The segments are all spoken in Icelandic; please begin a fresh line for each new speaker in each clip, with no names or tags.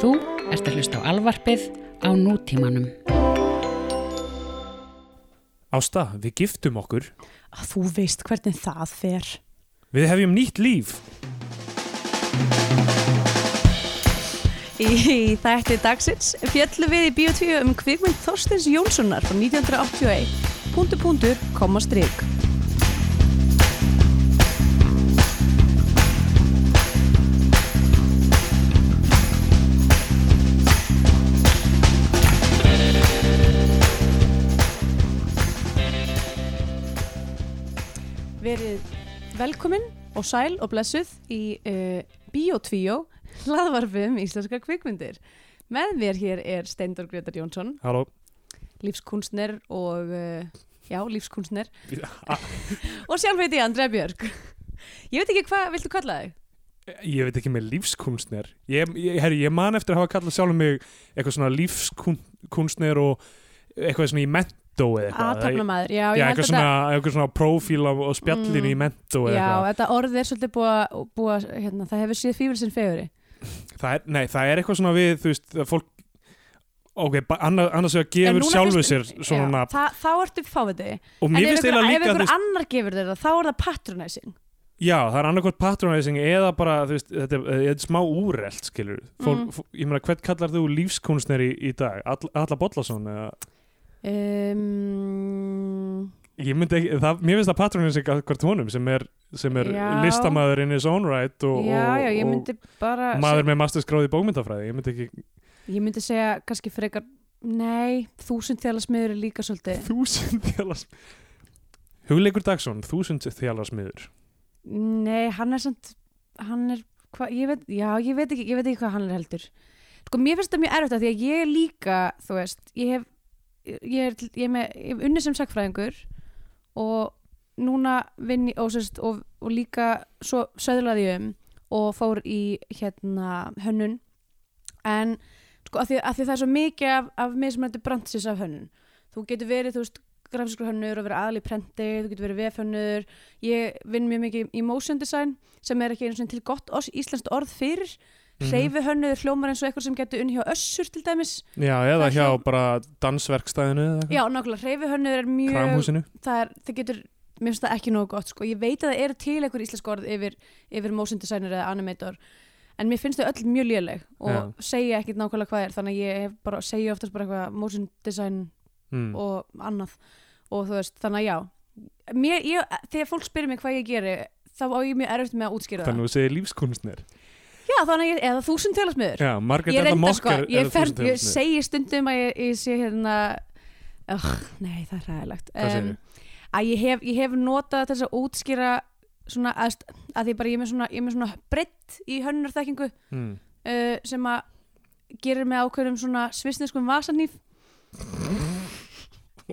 Þú ert að hlusta á alvarpið á nútímanum.
Ásta, við giftum okkur.
Að þú veist hvernig það fer.
Við hefjum nýtt líf.
Í þætti dagsins fjallum við í Bíotvíu um kvikmynd Þorstins Jónssonar frá 1981. Puntu, puntur, koma strik. Verið velkomin og sæl og blessuð í uh, Bíotvíu, hlaðvarfið um íslenska kvikmyndir. Með mér hér er Steindor Gretar Jónsson,
Halló.
lífskunstner og, uh, já, lífskunstner. Og sjálf heiti ég Andrea Björg. Ég veit ekki hvað viltu kalla þig?
Ég veit ekki með lífskunstner. Ég, ég, herri, ég man eftir að hafa kallað sjálfum mig eitthvað svona lífskunstner og eitthvað svona í mentó eða eitthvað.
Aðtapnamaður, já,
Já,
ég held
eitthvað
að þetta...
svona, eitthvað svona prófíl á, á spjallinu
Mm.
í mentó eða
Já,
eitthvað.
þetta orð er svolítið búið að, búið að, hérna, það hefur síð fífil sinn feguri. e-
Það er, nei, það er eitthvað svona við, þú veist, að fólk, ok, ba- anna- annars vegar gefur sjálfu sér svona nafn.
Þa, þá ertu fáfiði.
Og
En
mér
ef
finnst eiginlega
einhver, ef
líka, þú
einhver
veist,
annar gefur þér það, þá er það patronizing.
já, það er annarkvæmt patronizing eða bara, þú veist, þetta er, þetta er smá úrelt, skilur. Fólk,
Mm.
mm. Ég meina, hvern kallar þú lífskunstner í, í dag? All, Alla Bollason eða?
Um,
Ég myndi ekki, það, mér finnst það patronins ekki akkvart honum sem er, sem er
Já.
listamaður in his own right og,
já,
og,
já, ég myndi bara...
og maður með masterskráð í bókmyndafræði ég myndi ekki
Ég myndi segja kannski frekar Nei, þúsund þjálasmiður er líka svolítið
þúsund þjálas Hugleikur Dagsson, þúsund þjálasmiður
Nei, hann er samt Hann er, hva, ég veit Já, ég veit ekki, ég veit ekki hvað hann er heldur Sko, mér finnst það mjög erfitt að því að ég er líka Þú veist, ég hef Ég er, ég er, með, ég hef unni sem sakfræðingur Og núna vinn ég, og, sérst, og, og líka Svo söðlaði ég um Og fór í, hérna, hönnun En, sko, að því, að því það er svo mikið af, af mér sem þetta brandsis af hönnun Þú getur verið, þú veist grafiskur hönnur og verið aðli prenti, þú getur verið vefhönnur ég vinn mjög mikið í motion design sem er ekki einu svona til gott os, íslenskt orð fyrir
Mhm.
hreyfihönnuður hljómar eins og eitthvað sem getur unni hjá össur til dæmis
Já, eða
Það er
hjá
svo-
bara dansverkstæðinu eða eitthvað,
já, nákvæmlega, hreyfihönnuður er mjög
kramhúsinu
það, er, það getur, mér finnst það ekki nógu gott sko. ég veit að það eru til einhver íslensk orð yfir, yfir motion designer eða animator en mér finnst þau öll mjög léleg og
Já.
segja ekkit nákvæmlega hvað er þannig að ég hef bara, segja oftast bara eitthvað motion design
mm.
og annað og þú veist, þannig að já mér, ég, þegar fólk spyrir mig hvað ég geri þá á ég mjög erfitt með að útskýra
Þannig að þú segir lífskunstner
það já, þannig að ég, eða þúsund félagsmiður
Já, Margrét
ég
Ella
reynda sko,
Mokker
ég,
er
fer,
þúsund þjálasmiður
ég segi stundum að ég, ég sé hérna oh, nei, það er ræðilegt
Hvað segirðu?
að ég hef, ég hef notað til þess að útskýra svona að, að ég bara, ég er með svona, ég er með svona breytt í hönnurþekkingu
mm.
uh, sem að gerir með ákveðum svona svisneskum vasanýf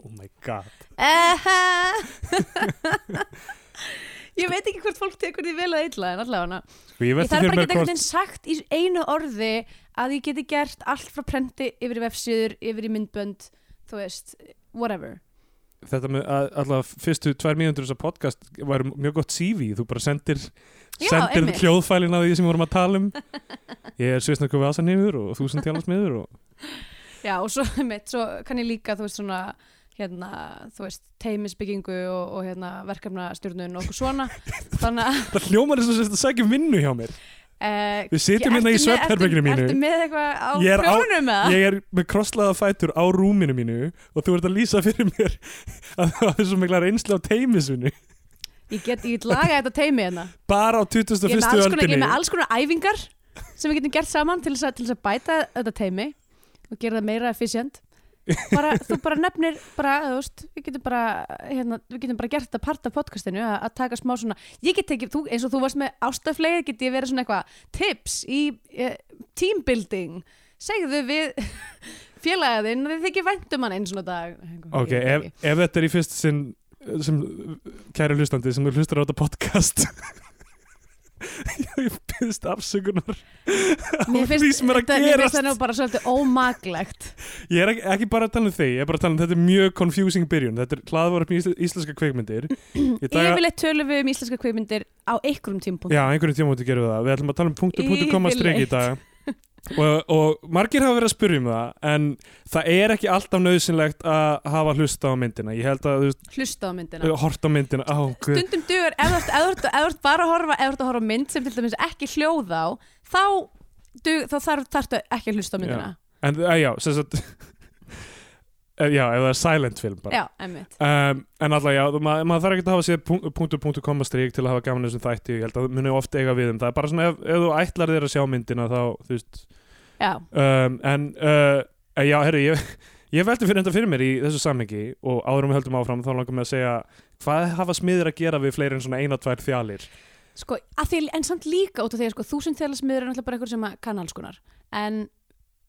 Oh my god
Aha. ég veit ekki hvort fólk tekur því vel að illa en allavega
sko, Ég
ég
velti
þarf bara
fyrir
að
mér
geta einhvern
hvort
veginn sagt í einu orði að ég geti gert allt frá prenti yfir í vefsíður, yfir í myndbönd þú veist, whatever
þetta með að- allavega fyrstu tvær mínútur þessa podcast var mjög gott CV þú bara sendir,
Já,
sendir
einmitt.
hljóðfælin að því sem við vorum að tala um ég er svisnakur vasanýfur og þú sem tjálast miður og
já og svo, mitt, svo kann ég líka þú veist svona hérna, þú veist, teimisbyggingu og, og hérna, verkefnastjórnun og okkur svona þannig að
það hljómar þess að þetta sækja vinnu hjá mér
eh,
við sitjum hérna í
ertu með-
svefnherberginu
ertu-
mínu
Ertu með eitthvað á
Ég er á-
prjónunum eða?
ég er með krosslaða fætur á rúminu mínu og þú ert að lýsa fyrir mér að það er svo mikla reynsla á teimisvinu
Ég get, ég get lagað þetta teimi hérna
bara á
ég er
21.
með alls konar,
öldinni
ég er með alls konar æfingar sem við getum gert saman til þess að, til þess að bæta þetta teimi og gera það meira efficient bara, þú bara nefnir bara, þú veist, við getum bara hérna, við getum bara gert þetta part af podcastinu að, að taka smá svona, ég get tekið, þú, eins og þú varst með ástaflegið, get ég verið svona eitthvað tips í eh, teambuilding segðu við félagaðinn, þið þykir væntum hann eins og dag
ok, ef, ef þetta er í fyrst sinn eh, sem kæri hlustandi sem þú hlustar á þetta podcast ég byrðist afsökunar
mér
því sem er að
þetta- mér
gerast.
finnst það nú bara svolítið ómaglegt
ég er ekki, ekki bara að tala um þig, ég er bara að tala um þetta er mjög confusing byrjun, þetta er hlaðvarp í ísl, íslenska kveikmyndir Í dag-
Yfirleitt tölum við um íslenska kveikmyndir á einhverjum tímpunkt
Já, einhverjum tíma mútið gerum við það. Við ætlum að tala um punktu, punktu, koma, strik í dag. og, og margir hafa verið að spyrja um það en það er ekki alltaf nöðsynlegt að hafa hlusta á myndina ég held að þú veist,
hlusta á myndina
horta á myndina á, guð.
stundum dugur, ef þú ert- ef þú ert- ef þú ert bara að horfa ef þú ert að horfa á mynd sem til dæmis ekki hljóð á þá, dug, þá þarf, þarftu ekki að hlusta á myndina
en að, já, sem sagt eh, já, ef það er silent film bara
já, emmitt
Um, en alltaf já, þú- maður mað þarf ekki að hafa sér punkt- punktur, punktur, komma, strík til að hafa gaman af þessum þætti, ég held að það muni oft eiga við um það er bara svona ef, ef þú ætlar þér að sjá myndina þá, þú veist
já,
um, en uh, eh, já, herru, ég, ég veldi fyrir þetta fyrir mér í þessu samhengi og áðurum við höldum áfram þá langar mig að segja hvað hafa smiðir að gera við fleiri en svona eina, tvær þjálir
sko, að því, en samt líka út af því að sko, þúsund þjálismiður er náttúrulega bara eitthvað sem að kann alls konar en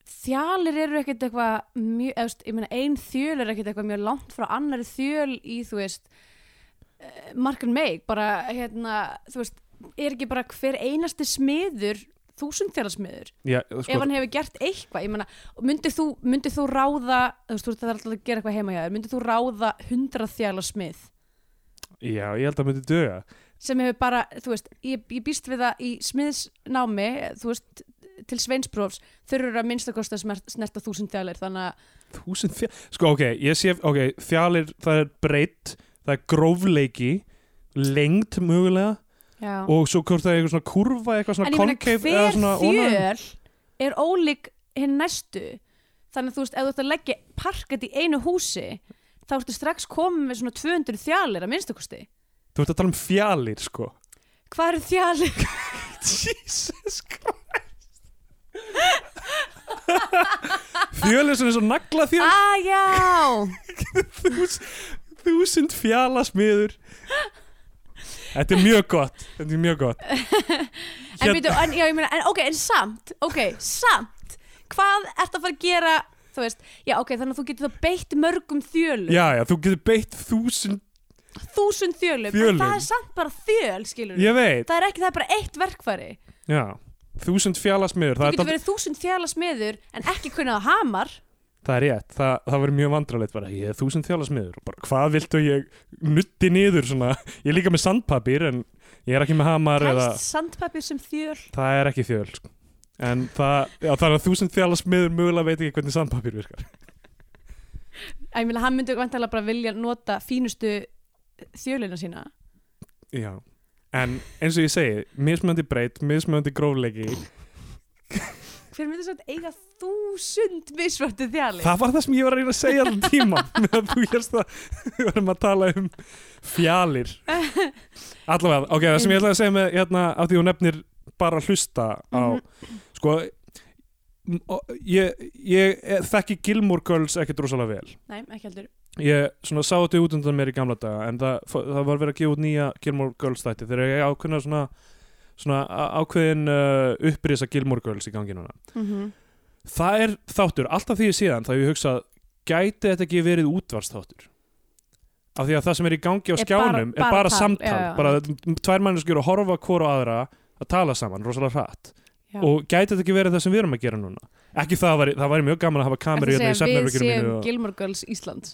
þjálir eru ekkert eitthvað mjög, eða, þú veist, ég meina ein þjöl er ekkert eitthvað mjög langt frá annari þjöl í, þú veist eh, mark and make, bara hérna, þú veist, er ekki bara hver einasti smiður þúsund þjálismiður
já, sko,
ef hann hefur gert eitthvað ég meina, myndir þú, myndir þú ráða þú veist, þú ert alltaf að gera eitthvað heima hjá þér myndir þú ráða hundrað þjala smið
já, ég held að myndi döga
sem hefur bara, þú veist, ég, ég býst við það í smiðsnámi, þú veist til sveinsprófs, þau eru að minnstakosta snerta þúsund þjalir, þannig að
þúsund þjál sko ok, ég sé, ok, þjálir það er breytt, það er grófleiki lengd mögulega
já.
og svo hvort það er eitthvað svona kurva eitthvað
en
svona
ég meina,
concave eða
hver
svona ónæg-
þjöl er ólík hinn næstu þannig að þú veist, ef þú ert að leggja parkett í einu húsi, þá ertu strax komið með svona 200 þjalir að minnstakosti
þú ert að tala um fjalir sko
hvað eru þjalir?
Jesus Christ fjöl er svona eins og nagla þjöl
Ah, já!
þús, þúsund fjala smiður þetta er mjög gott þetta er mjög gott
En,
Hér-
byrju, en, já, ég meina, en, ok, en samt, ok, samt, hvað ert að fara að gera, þú veist, já, ok, þannig að þú getur þá beitt mörgum þjölum,
já já, þú getur beitt þúsund
þúsund þjölum,
Þjölum.
en það er samt bara þjöl, skilur
ég veit,
Það er ekki, það er bara eitt verkfæri.
já þúsund fjala smiður
Þú
það, er
getur
dálítið-
verið þúsund þjala smiður, en ekki kunnað að hamar.
það er rétt, það, það verður mjög vandralegt bara, ég er þúsund fjala smiður og bara, hvað viltu að ég nutti niður svona, ég er líka með sandpapír en ég er ekki með hamar eða,
Kæst sandpapir sem þjöl.
það er ekki þjöl sko. en það, já, það er að þúsund fjala smiður mögulega veit ekki hvernig sandpapír virkar
Æ, ég meina, hann myndi vantilega bara vilja nota fínustu þjölina sína.
Já, en eins og ég segi mismöndi breytt, mismöndi grófleiki
Hver myndi svo eiga þúsund misvöldu þjali?
Það var það sem ég var að reyna að segja allan tíma meðan þú hérst að við varum að tala um fjalir Allavega, ok, það sem ég ætlaði að segja með hérna, af því hún nefnir bara að hlusta á, sko m- og ég, ég eh, þekki Gilmore Girls ekkert rosalega vel
Nei, ekki heldur.
ég svona sá þetta út undan mér í gamla daga en það, það var verið að gefa út nýja Gilmore Girls þætti þegar ég ákveðna svona, svona á- ákveðin uh, upprisa Gilmore Girls í gangi núna
Mm
það er þáttur, alltaf því ég síðan þá hef ég hugsað, gæti þetta ekki verið útvarsþáttur af því að það sem er í gangi á
Er bara-
skjánum er
bara
bara
tal,
samtal
já, já.
bara tvær manneskjur að horfa hvora á aðra að tala saman, rosalega hratt
Já.
og gæti þetta ekki verið það sem við erum að gera núna ekki það, væri, það væri mjög gaman að hafa kameru
Ertu
hérna í
að segja að við
sefnarbygginu
séum
mínu og-
Gilmore Girls Ísland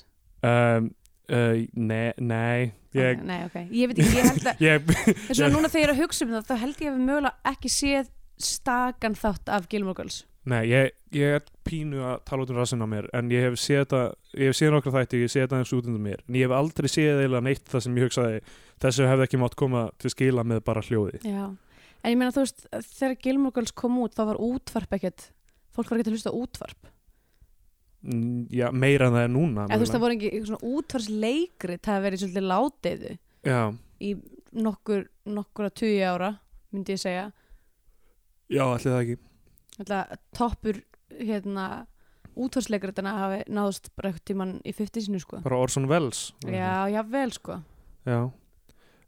um, uh, Nei, nei ég,
Nei, ok, ég veit ekki, ég held að
ég,
En svona núna þegar ég er að hugsa um það, þá held ég að við mögulega ekki séð stakan þátt af Gilmore Girls
nei ég, ég er pínu að tala út um rassinn á mér en ég hef séð þetta, ég hef séð nokkra þætti ég hef séð þetta eins út undan mér en ég hef aldrei séð eiginlega neitt það sem ég hugsaði þessu hefði ekki mátt koma til skila með bara hljóði
Já, en ég meina þú veist, þegar Gilmore Girls kom út, þá var útvarp ekkert Fólk var ekki að hlusta á útvarp
Mm, Já, meira en það er núna
En þú
mögulega.
veist, það voru ekki einhver svona útvarsleikrit, það hafði verið svolítið látiðu
já,
Í nokkur, nokkura tugi ára, myndi ég segja
já, allir það ekki
Ætla, Toppur, hérna, útvarsleikritina hafi náðust bara eitthvað tíman í 50 sinu, sko
bara Orson Welles
Já, já, vel sko
Já.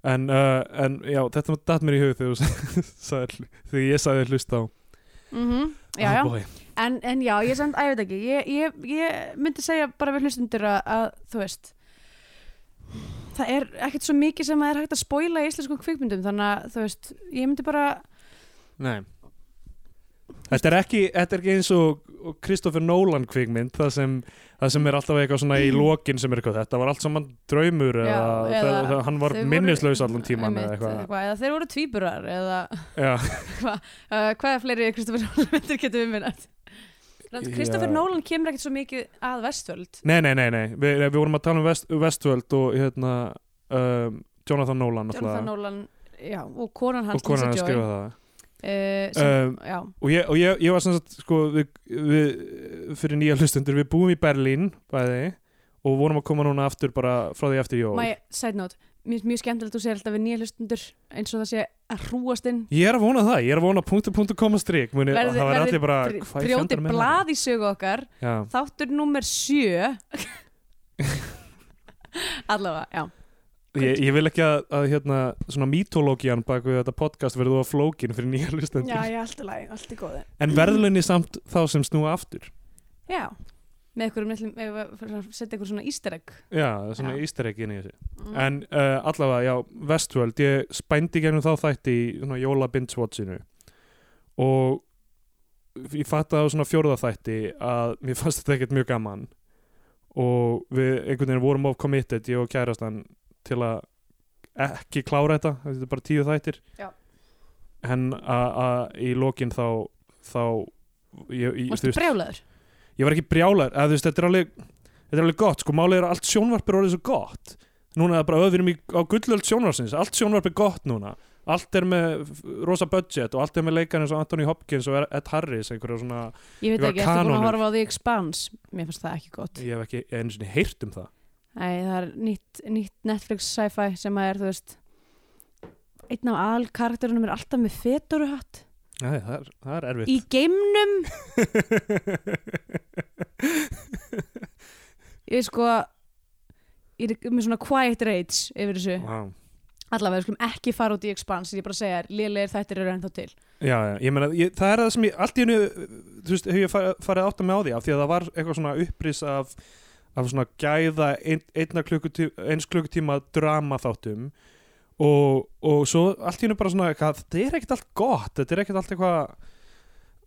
En, uh, en já, þetta datt mér í hug þegar, þú sagðir- þegar ég sagði hlusta á
mm Já, já,
Oh boy.
en, en já, ég samt, að ég veit ekki ég, ég, ég myndi segja bara við hlustundur að, að þú veist það er ekkert svo mikið sem að er hægt að spoila í íslenskum kvikmyndum þannig að þú veist, ég myndi bara
Nei Þetta er ekki, þetta er ekki eins og og Christopher Nolan kvikmynd það sem, það sem er alltaf eitthvað svona í lokin sem er eitthvað þetta var allt saman draumur
Mm. Já,
eða, eða
eða
það, hann var
þau voru-
minnislaus allan tíman eða
Einmitt,
eitthvað
eða þeir voru tvíburar eða
já,
uh, hvaða fleiri Kristoffer Nolan myndir getum við minnast Kristoffer
Já.
Nolan kemur ekkert svo mikið að Vestvöld
nei, nei, nei, nei. Vi, við vorum að tala um Vest, Vestvöld og hérna um, Jonathan Nolan náttúrulega.
Jonathan Nolan já, og konan hans
og konan að
Lisa Joy
skrifa það
uh, sem,
Um,
já,
og ég, og ég, ég var sem sagt sko, við, við, fyrir nýja hlustendur við búum í Berlín bæði og vorum að koma núna aftur bara frá því eftir jól
my side note mér finnst mjög skemmtilegt að þú segir alltaf við nýja hlustundur eins og það sé að hrúast inn
ég er að vona það, ég er að vona punktu punktu koma strik muni,
Verði-
það verði
verði
allir bara
br-
hvað í
brjóti
fjandanum er það?
blað í sögu okkar
Já.
þáttur númer sjö allavega, já
Ég, ég vil ekki að, að hérna, svona mítológian bak við þetta podcast verði þú að flókin fyrir nýja hlustendur
já, allt í lagi, allt í góði
en verðlunni samt þá sem snúa aftur
já, með einhverjum litlum- ef við fyrir að setja einhver svona easter egg
já, svona
Já.
easter egg inn í þessu
Mm.
en uh, allavega, já, Westworld ég spændi gegnum þá þætti í svona, jóla binge-watchinu og ég fatta á svona fjórða þætti að mér fannst þetta ekkert mjög gaman og við einhvern veginn vorum of committed, ég og kærastan til að ekki klára þetta þetta er bara tíu þættir
Já.
en að að í lokin þá þá ég, ég, þú
Varstu
veist,
brjálaður?
ég var ekki brjálar eða, þú veist, þetta, er alveg, þetta er alveg gott sko, málið er að allt sjónvarp er orðið svo gott núna er það bara öðvirum í, á gullöld sjónvarsins allt sjónvarp er gott núna allt er með f- rosa budget og allt er með leikar eins og Anthony Hopkins og Ed Harris einhverja svona, Ég
Ég veit
var
ekki, ertu búin að
kanónur.
horfa á The Expanse? Mér finnst það ekki gott.
ég hef ekki einu sinni heyrt um það
Nei, það er nýtt, nýtt Netflix sci-fi sem að er, þú veist, einn af aðal karakterunum er alltaf með feturuhatt
Nei, það, er, það er erfitt
í geimnum. Ég er sko, ég er með svona quiet rage yfir þessu.
wow.
Allavega, við skulum ekki fara út í Expanse, ég er bara að segja, lélegir þættir eru ennþá til.
já, já, ég meina, ég, það er það sem ég allt í hennu, þú veist, hef ég farið, farið átt að með á því af því að það var eitthvað svona upprís af, af svona gæða ein, einna klukkutíma, eins klukkutíma drama þáttum og, og svo allt í hennu bara svona eitthvað, þetta er ekkert allt gott, þetta er ekkert allt eitthvað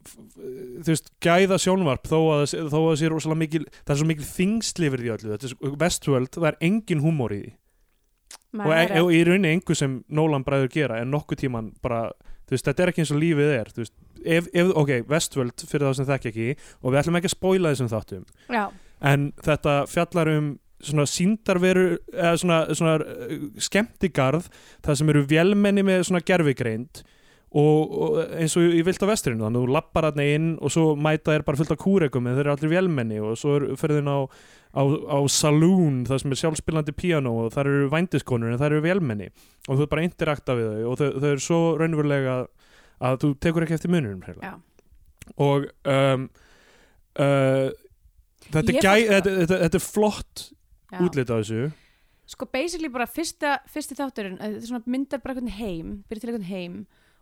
f- þú veist, gæða sjónvarp þó að, það sé- þó að það sé rosalega mikil það er svo mikil þingsli yfir því öllu þetta er svo, Westworld, það er engin húmór í því
Nei,
og,
það
e
er-
og í rauninni einhver sem Nolan bræður gera en nokkuð tíman bara þú veist, þetta er ekki eins og lífið er þú veist, ef, ef, ok, Westworld fyrir þá sem þekki ekki og við ætlum ekki að spoila þessum þáttum
Já,
en þetta fjallar um svona síndarveru eða svona, svona uh, skemmtigarð það sem eru vélmenni með svona gerfigreind og, og eins og í vilt á vestrinu þannig að þú lappar hann inn og svo mæta þér bara fullt af kúrekum en þeir eru allir vélmenni og svo er- ferðu inn á, á, á saloon það sem er sjálfspilandi piano og þar eru vændiskonur en þar eru vélmenni og þú er bara að interakta við þau og þau, þau eru svo raunverulega að þú tekur ekki eftir mununum
Já.
hreinlega. og um, uh, þetta, er
Ég
gæ,
fannst það.
þetta, þetta, þetta er flott
já.
útlit á þessu
sko basically bara fyrsta, fyrsti þátturinn að þetta er svona myndar bara einhvern heim byrja til einhvern heim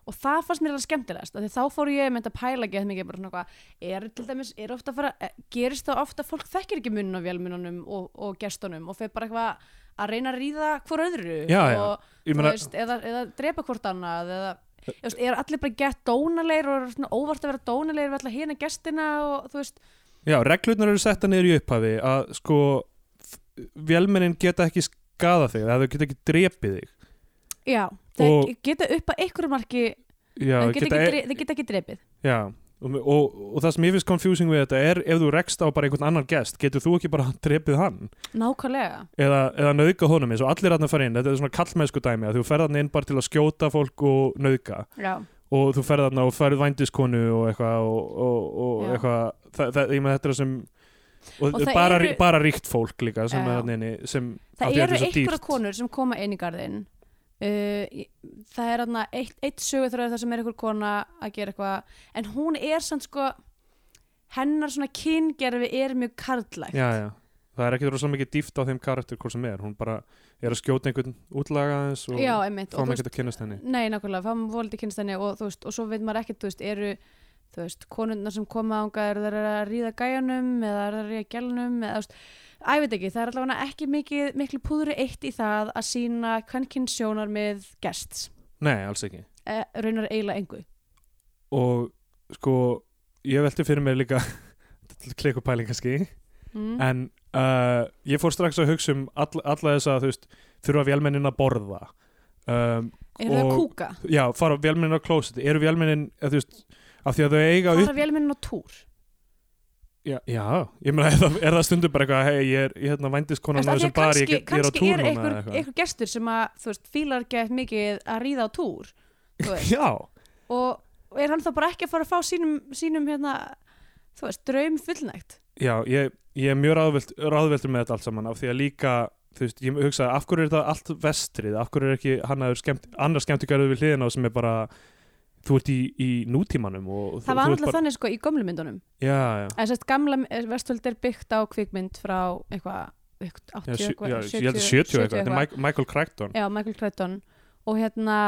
og það fannst mér alveg skemmtilegast af því þá fór ég með þetta pæla ekki mikið bara svona hvað er til dæmis, er ofta að fara eh, gerist þá ofta að fólk þekkir ekki munn á vélmununum og, og gestunum og fer bara eitthvað að reyna að ríða hvor öðru
Já, já.
og
Ég
þú
meina,
veist, eða, eða drepa hvort annað eða Ég veist, er allir bara gett dónalegir og eru svona óvart að vera dónalegir við alla hérna gestina og þú veist,
já, reglurnar eru setta niður í upphafi að sko vélmennin geta ekki skada þig eða þau geta ekki drepið þig
já þeir
Og-
geta upp að einhverju marki
já, e-
en geta, ekki, dre- þeir geta ekki drepið
já, og, og, og það sem ég finnst confusing við þetta er ef þú rekst á bara einhvern annan gest getur þú ekki bara drepið hann
nákvæmlega
eða, eða nauðga honum eins og allir hann að fara inn þetta er svona kallmennsku dæmi að þú ferð hann inn bara til að skjóta fólk og nauðga
Já,
og þú ferð þarna og ferð vændiskonu og eitthvað og, og, og
Já.
eitthvað það, það, ég með þetta er sem og,
Og það
bara,
eru-
bara ríkt fólk líka sem
Já.
er þarna inni sem af
það
því að
eru
þetta er svo
einhverja
dýrt.
konur sem koma inn í garðin uh, ég- það er þarna eitt, eitt söguþröð þar sem er einhver kona að gera eitthvað en hún er samt sko hennar svona kyngerfi er mjög karlægt
já, já. það er ekki rosalega mikið dýft á þeim karakter hvort sem er, hún bara er að skjóta einhvern útlaga aðeins og
Já, einmitt
fá
og þú
mig ekki að kynnast henni
Nei, nákvæmlega, fáum voldi kynstæni og þú veist, og svo veit maður ekkert, þú veist, eru þú veist, konundnar sem koma ánga eru þær að ríða gæjanum eða eru þær að ríða gælunum eða, þú veist, æ, ég veit ekki, það er allavega ekki mikið, miklu púðri eitt í það að sína kvenkinn sjónar með gests,
nei, alls ekki
e, raunar eiginlega engu
og sko, ég velti fyrir mér líka klikkupæling kannski
mm.
en uh, ég fór strax að hugsa um all, alla þess að þú veist þurfa vélmennin að borða um,
Er það að
og-
kúka?
já, fara vélmennin á klósiti eru vélmennin, eða þú veist af því að þau eiga
Það
upp
er vélmennin á túr
já, já, ég meina, er það, er það stundum bara eitthvað hei, ég er ég, hérna
Þú
vændiskonan
veist,
á
af því
þessum
að
bar, ég, ég
kannski-
er á
kannski
túr núna
einhver,
eða eitthvað.
einhver gestur sem að, þú veist, fílar gett mikið að ríða á túr þú veist,
já,
og, og er hann þá bara ekki að fara að fá sínum, sínum hérna, þú veist, draum fullnægt
já, ég, ég er mjög ráðvelt, ráðveltur með þetta allt saman af því að líka þú veist, ég hugsaði, af hverju er þetta allt vestrið af hverju er ekki hann aður skemmt, annar skemmtigarðu við hliðina á sem er bara þú ert í, í nútímanum og, þú-
það var
þú ert
alltaf þannig sko í gömlu myndunum
já, já
en sérst gamla vestvöld er byggt á kvikmynd frá eitthvað eitthvað 80
Já, sjö,
eitthvað,
já, ég held að 70 eitthvað, þetta er Mike- Michael Crichton
já, Michael Crichton og hérna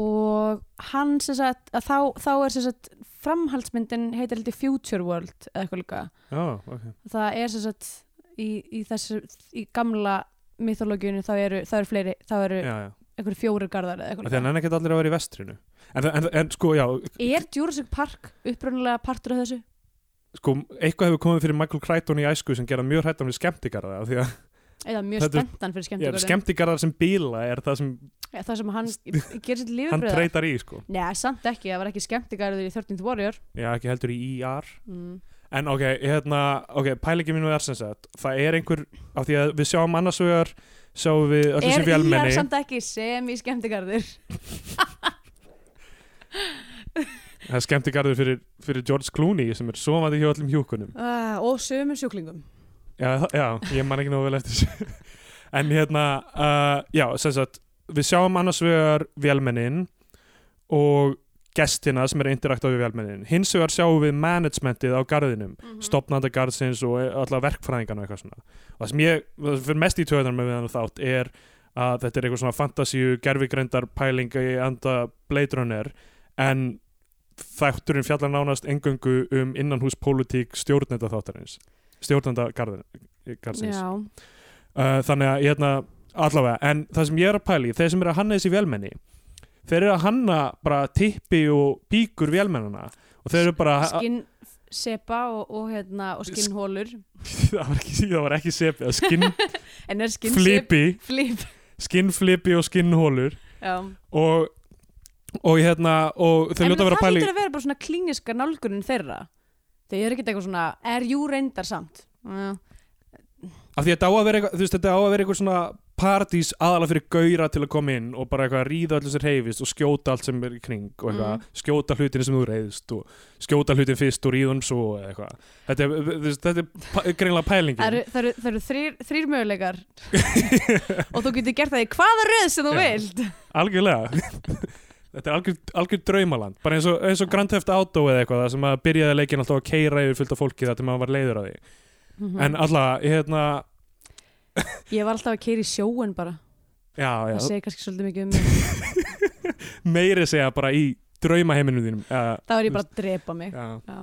og hann sem sagt að þá, þá er sem sagt framhaldsmyndin heitir heldur Future World eða eitthvað líka
já, ok,
það er sem sagt í, í þessu, í gamla mythologíunni þá eru, þá eru fleiri þá eru
já, já
einhverju fjórir garðar eða
Af
eitthvað
því að
líka.
hann ekkert allir að vera í vestrinu en, en, en sko, já,
er Jurassic Park upprunalega partur af þessu?
sko, eitthvað hefur komið fyrir Michael Crichton í æsku sem gera hann mjög hrættan við skemmtigarða af því að
eða mjög
Þetta er-
spenntan fyrir
já,
skemmtigarðin
skemmtigarðar sem bíla er það sem
Eða það sem hann gerir sitt lífið
hann
fyrir það
treytar í, sko
Nei, samt ekki, það var ekki skemmtigarður í 13th Warrior
já, ekki heldur í IR
mm.
en ok, hérna, ok, pælingi mínu er sem sagt, það er einhver, af því að við sjáum annars vegar, sjáum við öll
Er
þessi
IR
vélmenni,
samt ekki sem í skemmtigarður?
það er skemmtigarður fyrir, fyrir George Clooney sem er svovandi hjá öllum hjúkunum
Uh, og sömum sjúklingum
já, þa- já, ég man ekki nógu vel eftir þessu en hérna uh, já, sem sagt, við sjáum annars vegar vélmennin og gestina sem er interakta við vélmennin hins vegar sjáum við managementið á garðinum mm -hmm. stopnanda garðsins og alla verkfræðingarna og eitthvað svona og það sem ég, það sem fyrir mest í töðunar með þannig þátt er að þetta er eitthvað svona fantasíu gerfigreindar pælinga í anda Blade Runner en þátturinn fjallar nánast engöngu um innanhús pólitík stjórnenda þáttarins stjórnenda garðin, garðsins
Já,
uh, þannig að hérna, allavega, en það sem ég er að pæli þeir sem eru að hanna þessi vélmenni þeir eru að hanna bara tippi og píkur vélmennana og þeir eru bara
skinn sepa og, og, hérna, og skinnhólur
það var ekki, það var ekki sepi, skinn
En er skinn
flipi,
Flip
skinn flipi og skinnhólur
Já
og, og hérna og þeir ljóta að vera að
En það
pæli
lítur að vera bara svona klíniska nálgunin þeirra Þeir eru ekkert eitthvað svona Er jú reyndar samt? Já,
af því að þetta á að vera eitthvað, þú veist, þetta á að vera eitthvað svona partís aðalega fyrir gauðra til að koma inn og bara eitthvað að ríða öllu sér heifist og skjóta allt sem er í kring og eitthvað,
Mm.
skjóta hlutin sem þú reyðist og skjóta hlutin fyrst og ríðum svo eða eitthvað, þetta er, þú veist, þetta er pa- greinlega
Það
pælingin
eru, það eru, það eru þrýr, þrýr möguleikar og þú getur gert það í hvaða röð sem þú
Já.
vilt
algjörlega þetta er algjör, algjör draumaland bara eins og, eins og Grand Theft Auto eða eitthvað það sem að byrjaði leikin alltaf að keira yfir fullt af fólki þetta maður var leiður á því
Mm.
en alltaf, hérna,
Mhm. Ég var alltaf að keira í sjóin bara
já,
Það
já
segir kannski svolítið mikið um mig
meiri segja bara í draumaheiminum þínum uh,
Það var ég bara að drepa mig
já
Já,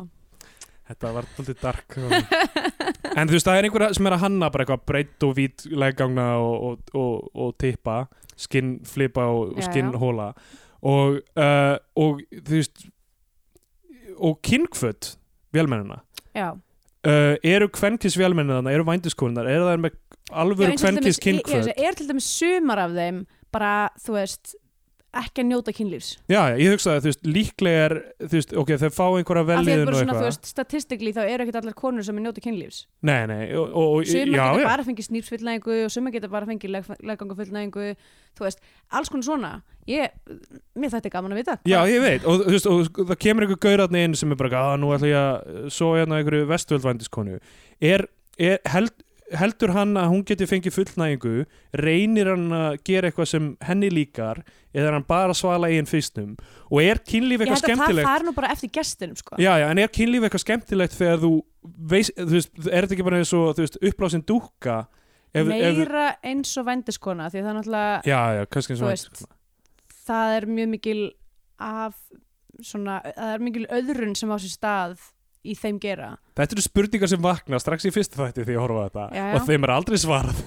Þetta var alltaf dark En þú veist, það er einhverja sem er að hanna bara eitthvað breytt og vít leggangna og, og, og, og tippa skinn flipa og, og
Já,
skinn
já.
hóla og, uh, og þú veist og kynkföt vélmennina
já.
uh, eru kvenkis vélmennina, eru vændiskonunnar eru það með
já
alvöru
eins og til
kvenkis
dæmis- ég- ég-
kynkföt
ég- Er til dæmis sumar af þeim bara, þú veist ekki að njóta kynlífs
Já, já, ég hugsaði, þú veist, líklega er þú veist, ok, þau fá einhverja
Af því að
velliðin og
bara svona, þú
eitthvað
veist, statistikli þá eru ekkert allar konur sem njóta kynlífs
Nei, nei, og, og, og
Sumar
já,
geta
já,
bara fengið snýpsfullnæðingu og sumar geta bara fengið leggangafullnæðingu þú veist, alls konar svona ég, mér þetta er gaman að vita
Já, ég veit, og, þú veist, og það kemur einhver gaurarni inn sem er bara, að nú ætla ég að svo hérna einhverju vestvöldvændiskonu er, er held, heldur hann að hún geti fengið fullnægingu reynir hann að gera eitthvað sem henni líkar eða er hann bara að svala eigin fyrstum og er kynlíf
ég
eitthvað
held að það
skemmtilegt
fari nú bara eftir gestinum sko.
Já, já, en er kynlíf eitthvað skemmtilegt þegar þú veist, þú veist, er þetta ekki bara eins og þú veist, upplásin dúkka ef, ef,
meira eins og vendiskona því að það er náttúrulega,
Já, já, kannski eins
þú
og
veist það er mjög mikil af svona, það er mikil öðrun sem á sér stað í þeim gera
Þetta eru spurningar sem vakna strax í fyrsta þætti því ég horfa á þetta
Já, já.
og þeim er aldrei svarað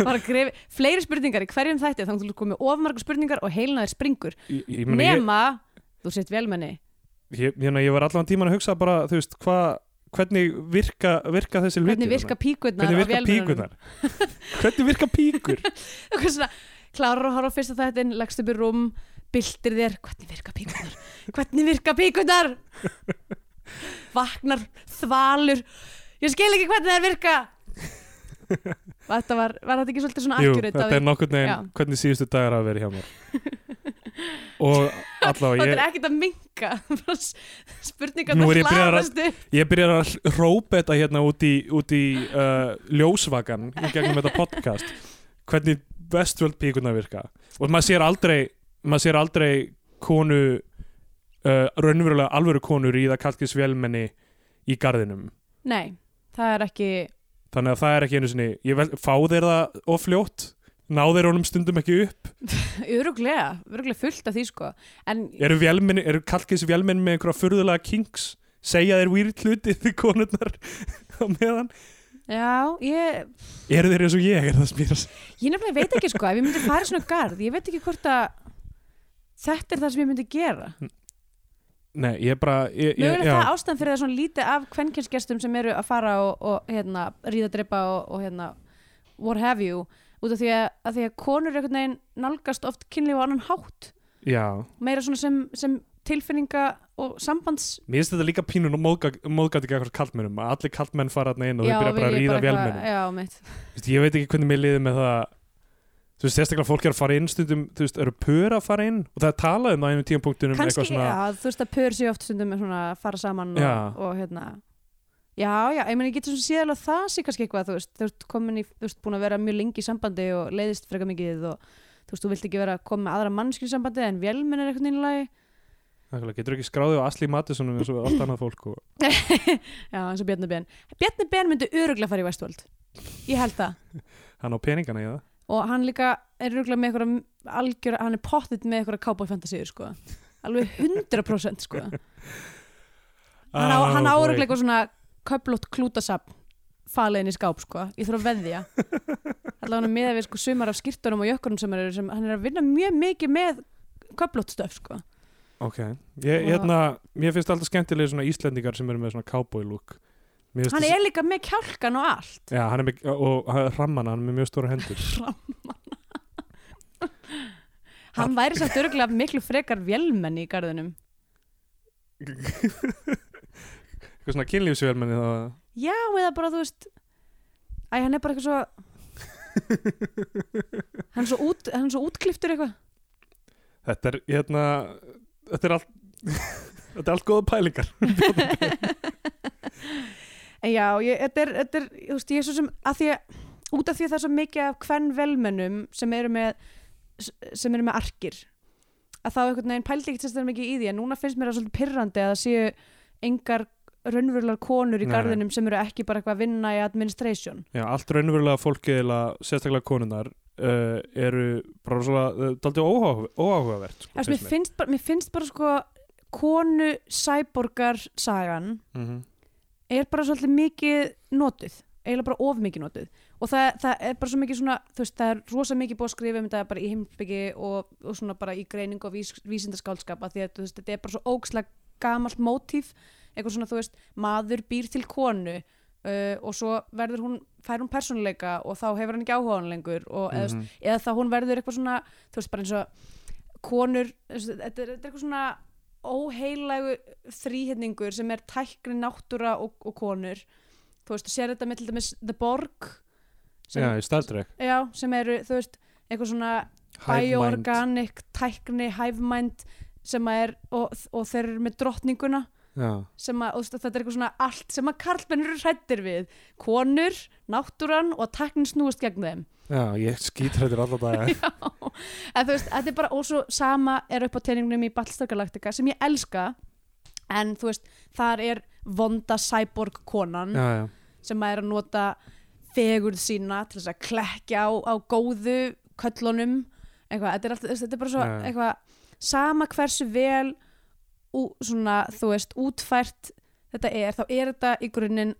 bara grefi, fleiri spurningar í hverjum þætti þannig að þú komið ofmarga spurningar og heilnaðir springur
ég, ég, meina, ég,
nema, þú sett velmenni
ég, hérna, ég var allan tíman að hugsa bara, þú veist, hvað hvernig virka, virka þessi hluti
hvernig virka píkurnar
hvernig
á
virka
vélmennunum?
píkunar hvernig virka píkur
eitthvað svona, klárar að horfa á fyrsta þættin leggst upp í rúm, byltir þér hvernig virka píkunar, hvernig virka píkunar vaknar þvalur ég skil ekki hvernig þær virka þetta var, var þetta ekki svolítið svona
Jú,
akkurat
þetta er nokkurn
Já.
veginn hvernig síðustu dagar hafa verið hjá mér og allavega
þetta
ég,
er ekkert að minka Bara s- spurningarnar
Nú er ég byrjaður að-
hlaðast upp.
ég byrjar að hl- hrópa þetta hérna út í, út í uh, ljósvagan í gegnum þetta podcast hvernig vestvöld píkunar virka og maður sér aldrei maður sér aldrei konu uh, raunverulega alvöru konur í það kalkis velmenni í garðinum
nei, það er ekki
þannig að það er ekki einu sinni ég vel, fá þeir það of fljótt ná þeir honum stundum ekki upp
öruglega, öruglega fullt af því sko en
eru, vélmenni, eru kalkis velmenni með einhverja furðulega kinks segja þeir výrt hluti því konurnar á meðan
já, ég
eru þeir eins og ég er það spýrast
Ég nefnilega veit ekki sko, ef ég myndi fara í svona garð, ég veit ekki hvort að þetta er það sem ég myndi gera.
Nei, ég bara ég, ég,
Mögulega það
já,
ástæðan fyrir það svona lítið af kvenkinsgestum sem eru að fara og, og hérna, ríða drepa og, og hérna, what have you, út af því að, að, því að konur einhvern veginn nálgast oft kynlíf á annan hátt,
já,
meira svona sem, sem tilfinninga og sambands...
mér finnst þetta líka pínun og móðgat ekki eitthvað kallmennum að allir kallmenn fara þarna inn og þau byrja bara að
vil ég
ríða
eitthvað-
velmennum
Já, mitt.
Vist, ég veit ekki hvernig mér liði með það þú veist, sérstaklega fólk er að fara inn stundum þú veist, eru pör að fara inn og það er talað um það á einum tímapunktunum
kannski,
eitthvað svona
já, þú veist að pör sér oft stundum með svona að fara saman og,
Já.
og hérna já, já, ég meni, ég getur svona síðan að það sé kannski eitthvað, þú veist, þú ert komin í þú veist, búin að vera mjög lengi í sambandi og leiðist frekar mikið og þú veist, þú vilt ekki vera að koma með aðra mannskil í sambandi en vélmenn er eitthvað nýlagi
Nákvæmlega, getur ekki skráðið á Asli Mattisson eins og allt annað fólk og...
já, eins og Bjarni Ben Bjarni Ben myndi öruglega fara í Vestvöld ég held það,
hann á peningana í það
og hann líka er öruglega með eitthvað algjör, hann er pottitt með eitthvað kábófantasíður, sko alveg 100% sko hann, á,
Oh,
hann
boy.
áreglega eitthvað svona köplótt klútasapn faliðin í skáp sko, ég þarf að veðja allavega hann með við sko sumar af skýrtunum og jökkunum sem hann er, sem hann er að vinna mjög mikið með köplótt stöf sko
Ok, ég,
Og-
hérna, mér finnst alltaf skemmtilega svona Íslendingar sem eru með svona cowboy look Mér finnst
hann
þessi-
er líka með kjálkan og allt
Já, hann er með, og rammana, hann er með mjög stóra hendur
hann væri samt öruglega miklu frekar vélmenni í garðinum
eitthvað svona kynlífsvelmenni þá
já, eða bara þú veist æ, hann er bara eitthvað svo hann er svo, út, hann er svo útkliftur eitthvað
þetta er hérna þetta er allt þetta er allt góða pælingar
En já, ég, þetta er, þetta er, þú veist, ég er svo sem, að því að, út af því að það er svo mikið af hvern velmennum sem eru með, sem eru með arkir, að þá einhvern veginn pældi ekkert sérstaklega mikið í því, en núna finnst mér það svolítið pirrandi að það séu engar raunverulegar konur í
Nei.
garðinum sem eru ekki bara eitthvað að vinna í administration.
já, allt raunverulega fólkið eiginlega, sérstaklega konunar uh, eru bara svona uh, daldið óáhuga, óáhugavert sko,
Eftir, mér, finnst bara, mér finnst bara sko konu sæborgar sagan
mm -hmm.
er bara svolítið mikið notuð eiginlega bara of mikið notuð og það, það er bara svo mikið svona þú veist, það er rosa mikið búið að skrifa um þetta bara í heimsbyggi og, og svona bara í greining og vís, vísindaskáldskapa því að þú veist, þetta er bara svo ógslega gamalt mótíf eitthvað svona, þú veist, maður býr til konu uh, og svo verður hún fær hún persónuleika og þá hefur hann ekki áhuga á hann lengur og, eða,
Mhm.
eða þá hún verður eitthvað svona þú veist, bara eins og konur þú veist, þetta er, þetta er eitthvað svona óheilagu þrýhetningur sem er tækni náttúra og, og konur þú veist, þú sér þetta með til dæmis The Borg sem,
já, í Star Trek
já, sem eru, þú veist, eitthvað svona bioorganic tækni hæfmænd sem að er, og, og þeir eru með drottninguna
já,
sem að, og þú veist, þetta er eitthvað svona allt sem að karlmenn eru hrættir við konur, náttúran og tæknin snúist gegn þeim
já, ég skítrættir alla daga
Já, en þú veist, þetta er bara og svo sama er upp á teiningnum í Battlestar Galactica sem ég elska en þú veist, þar er vonda cyborg konan
já, já,
sem er að nota fegurð sína til þess að klekja á, á góðu köllunum eitthvað, þetta er, alltaf, þetta er bara svo
Já.
eitthvað, sama hversu vel ú, svona, þú veist, útfært þetta er, þá er þetta í grunninn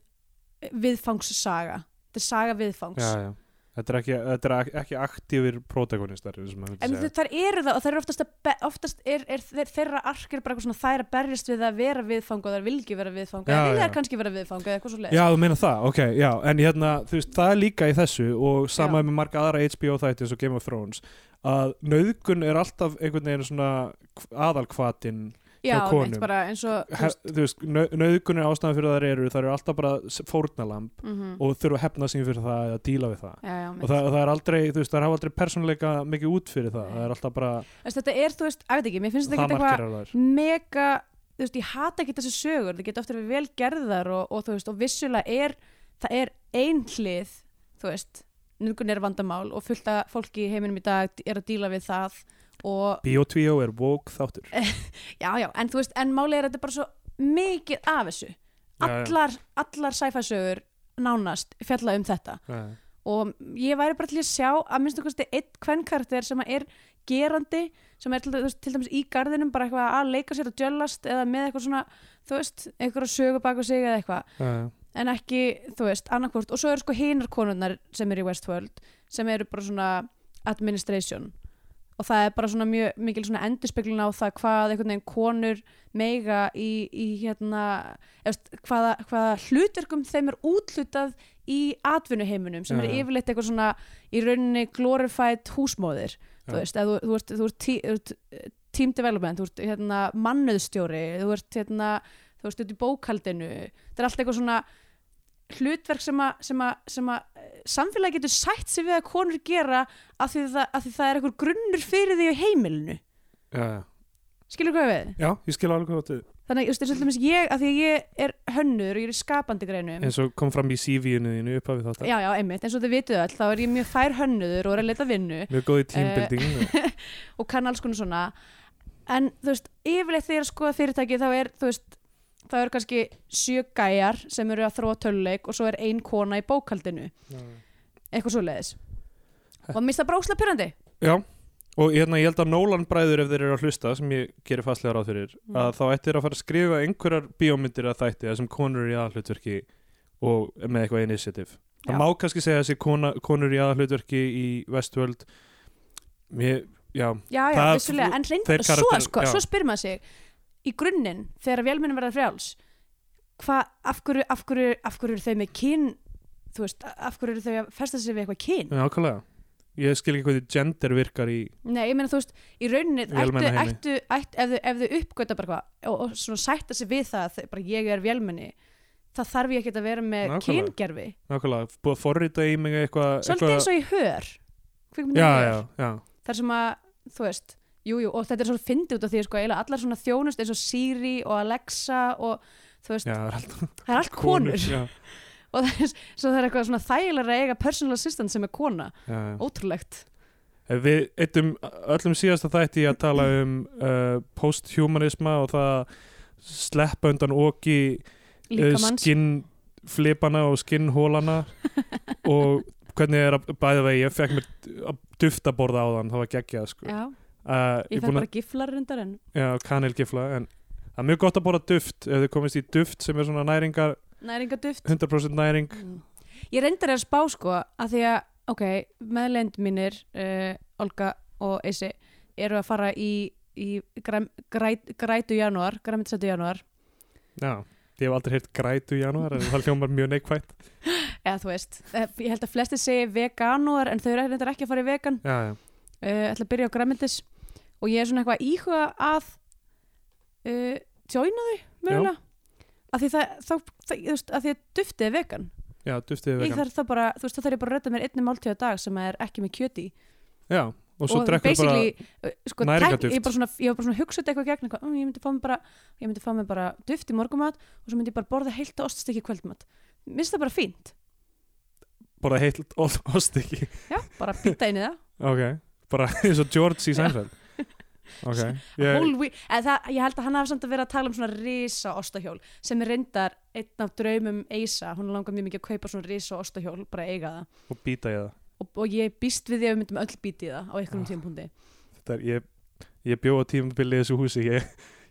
viðfangssaga þetta er saga viðfangs
já, já. þetta er ekki, þetta er ak- ekki aktífir protagonistar eins og maður myndi
En
segja.
þau, þær eru það og þær eru oftast, að be- oftast er, er, þeir, þeirra ark er bara eitthvað svona þær að berjast við að vera viðfang og þær vil ekki vera viðfang
Já,
eða vilja
já.
þær kannski vera viðfang eða eitthvað svo leið
Já, þú meina það, ok, já, en hérna, þú veist, það er líka í þessu og sama
Já.
með marga aðra HBO þætti eins og Game of Thrones að nauðgun er alltaf einhvern veginn svona aðalkvatin,
já
hjá konum.
eins bara eins og
He- þú veist, nau- nauðgun er ástæðan fyrir það eru, það eru alltaf bara s- fórnalamb
mm
og þurfa að hefna sín fyrir það eða díla við það
já, já,
og það, það er aldrei, þú veist, það hafa aldrei persónuleika mikið út fyrir það, það er alltaf bara
Þess, þetta er, þú veist, að veit ekki, mér finnst þetta
það
ekki eitthvað
markirar þær
mega, þú veist, ég hata ekki þessu sögur, það geta oft að við vel gerðar og, og þú veist, og vissulega er, það er einhlið, þú veist, nungun er vandamál og fullt af fólki í heiminum í dag er að díla við það og,
Biotvíó er woke þáttur
Eh, já, já, en þú veist, en málið er að þetta er bara svo mikið af þessu.
Já, já.
Allar, allar sæfæsögur nánast fjalla um þetta
já,
og ég væri bara til að sjá að minnstu kosti eitt kvennkarakter sem er gerandi, sem er til, þú veist, til dæmis í garðinum bara eitthvað að leika sér að djöllast eða með eitthvað svona, þú veist eitthvað sögu bak á sig eða eitthvað
já.
en ekki, þú veist, annarkvort og svo eru sko hinar konurnar sem eru í Westworld sem eru bara svona administration og það er bara svona mjög mikil svona endurspeglun á það hvað einhvern veginn konur meiga í, í hérna eftir, hvaða, hvaða hlutverkum þeim er útlutað í atvinnuheiminum sem
Já,
er
já.
yfirleitt eitthvað svona í rauninni glorified húsmóðir
Já.
þú veist, eða þú, þú ert, þú ert, tí, þú ert eh, team development, þú ert hérna, mannöðstjóri, þú ert hérna, þú ert út í bókaldinu það er allt eitthvað svona hlutverk sem að, sem að, sem að eh, samfélagi getur sætt sig við að konur gera af því það, af því það er eitthvað grunnur fyrir því á heimilinu
Já, já.
skilur hvað ég við?
já, ég skil alveg hvað þetta
þannig, þú veist, eins og til dæmis ég, af því að ég er hönnur og ég er í skapandi greinum
eins og kom fram í CV-inu þínu upphafið þáttar
já, já, einmitt, eins og þið vitið öll, þá er ég mjög fær hönnuður og er að leita vinnu
mjög góð í teambuilding
og kann alls konar svona en þú veist, yfirleitt þegar ég er að skoða fyrirtæki þá er, þú veist, þá eru kannski sjö gæjar sem eru að þróa töluleik og svo er ein kona í bókaldinu eitthvað svoleiðis og mista bróksla pyrrandi
já, og hérna, ég held að Nólan bræður ef þeir eru að hlusta, sem ég gerir fastlega ráð fyrir
Mm.
að þá ættir að fara að skrifa einhverjar bíómyndir að þætti, þessum konur eru í aðhlutverki og með eitthvað initiative
Já.
það má kannski segja þessi kona, konur í aðhlutverki í Westworld mér, já,
já, já,
Það-
vissulega, en reynd,
þeir
svo,
karakterar-
sko,
já.
svo spyr maður sig í grunninn, þegar vélmennin verða frjáls hvað, af hverju af hverju, af hverju eru þau með kyn þú veist, af hverju eru þau að festa sig við eitthvað kyn
nákvæmlega ég skil ekki hvað því gender virkar í
Nei, ég meina þú veist, í rauninni ættu,
Vélmennaheimi.
ættu, ættu, ef, þau- ef þau uppgöta bara hvað og, og svona sætta sig við það að þau- bara ég er vélmenni það þarf ég ekki að vera með
Nákvæmlega.
kyngerfi
nákvæmlega, búið að forrita í mig eitthvað
svolítið eins og ég hör
já,
Kvikmyndin
já,
Hör.
já,
þar sem að, þú veist jú, jú, og þetta er svolítið fyndið út af því sko, eiginlega allar svona þjónust eins og Siri og Alexa og þú veist,
já, það er alltaf
það er allt konur,
já,
og það er, svo það er eitthvað svona þægilega að eiga personal assistant sem er kona,
já, já.
ótrúlegt
Ef Við eittum öllum síðasta þætti í að tala um uh, posthumanisma og það að sleppa undan oki Eh,
líka manns,
skinnflipana og skinnhólana og hvernig er að bæða vegi, ég fekk mér að dufta borða á þann, það var geggjað sko.
já,
Uh,
ég þarf bara giflar reyndar en
Já, kanilgifla, en það er mjög gott að borða duft ef þið komist í duft sem er svona næringar,
næringaduft
100% næring
Mm. Ég reyndar að spá sko að því að, ok, meðlend mínir uh, Olga og Eisi eru að fara í, í græm, græt, grætu janúar græmitisætu janúar,
Já, ég hef aldrei heyrt grætu í janúar en það hljómar mjög neikvætt
eða þú veist eh, ég held að flesti segi veganúar en þau eru reyndar ekki að fara í vegan
Já, já,
uh, ætla að byrja á græmitis og ég er svona eitthvað að íhuga að uh, joina þau mögulega, að því það, þá, það þú veist, að því að duftið er vegan,
já duftið er
ég
vegan
þarf það bara þú veist, þá þarf ég bara að rötta mér einni máltíð á dag sem er ekki með kjöti í
Já, og svo
og
drekkur bara
basically bara sko,
næringarduft.
tæk, ég, bara svona, ég var bara svona hugsaði eitthvað gegn eitthvað, um, ég myndi fá mér bara ég myndi fá mér bara duft í morgumat og svo myndi ég bara borða heilt oststykki í kvöldmat minnst það bara fínt,
bara heilt ost ekki
já, bara býta inn í það
ok, bara eins og George í Seinfeld ok ég,
Whole wheat- eða það, ég held að hann hafi samt að vera að tala um svona risa ostahjól sem er reyndar einn af draumum Eisa, hún langar mjög mikið að kaupa svona risa ostahjól, bara að eiga það
og býta ég það
og, og ég býst við því að við myndum öll býti það á einhverjum
Ah.
tímpúndi
Þetta er, ég, ég bjó á tímabilið í þessu húsi ég,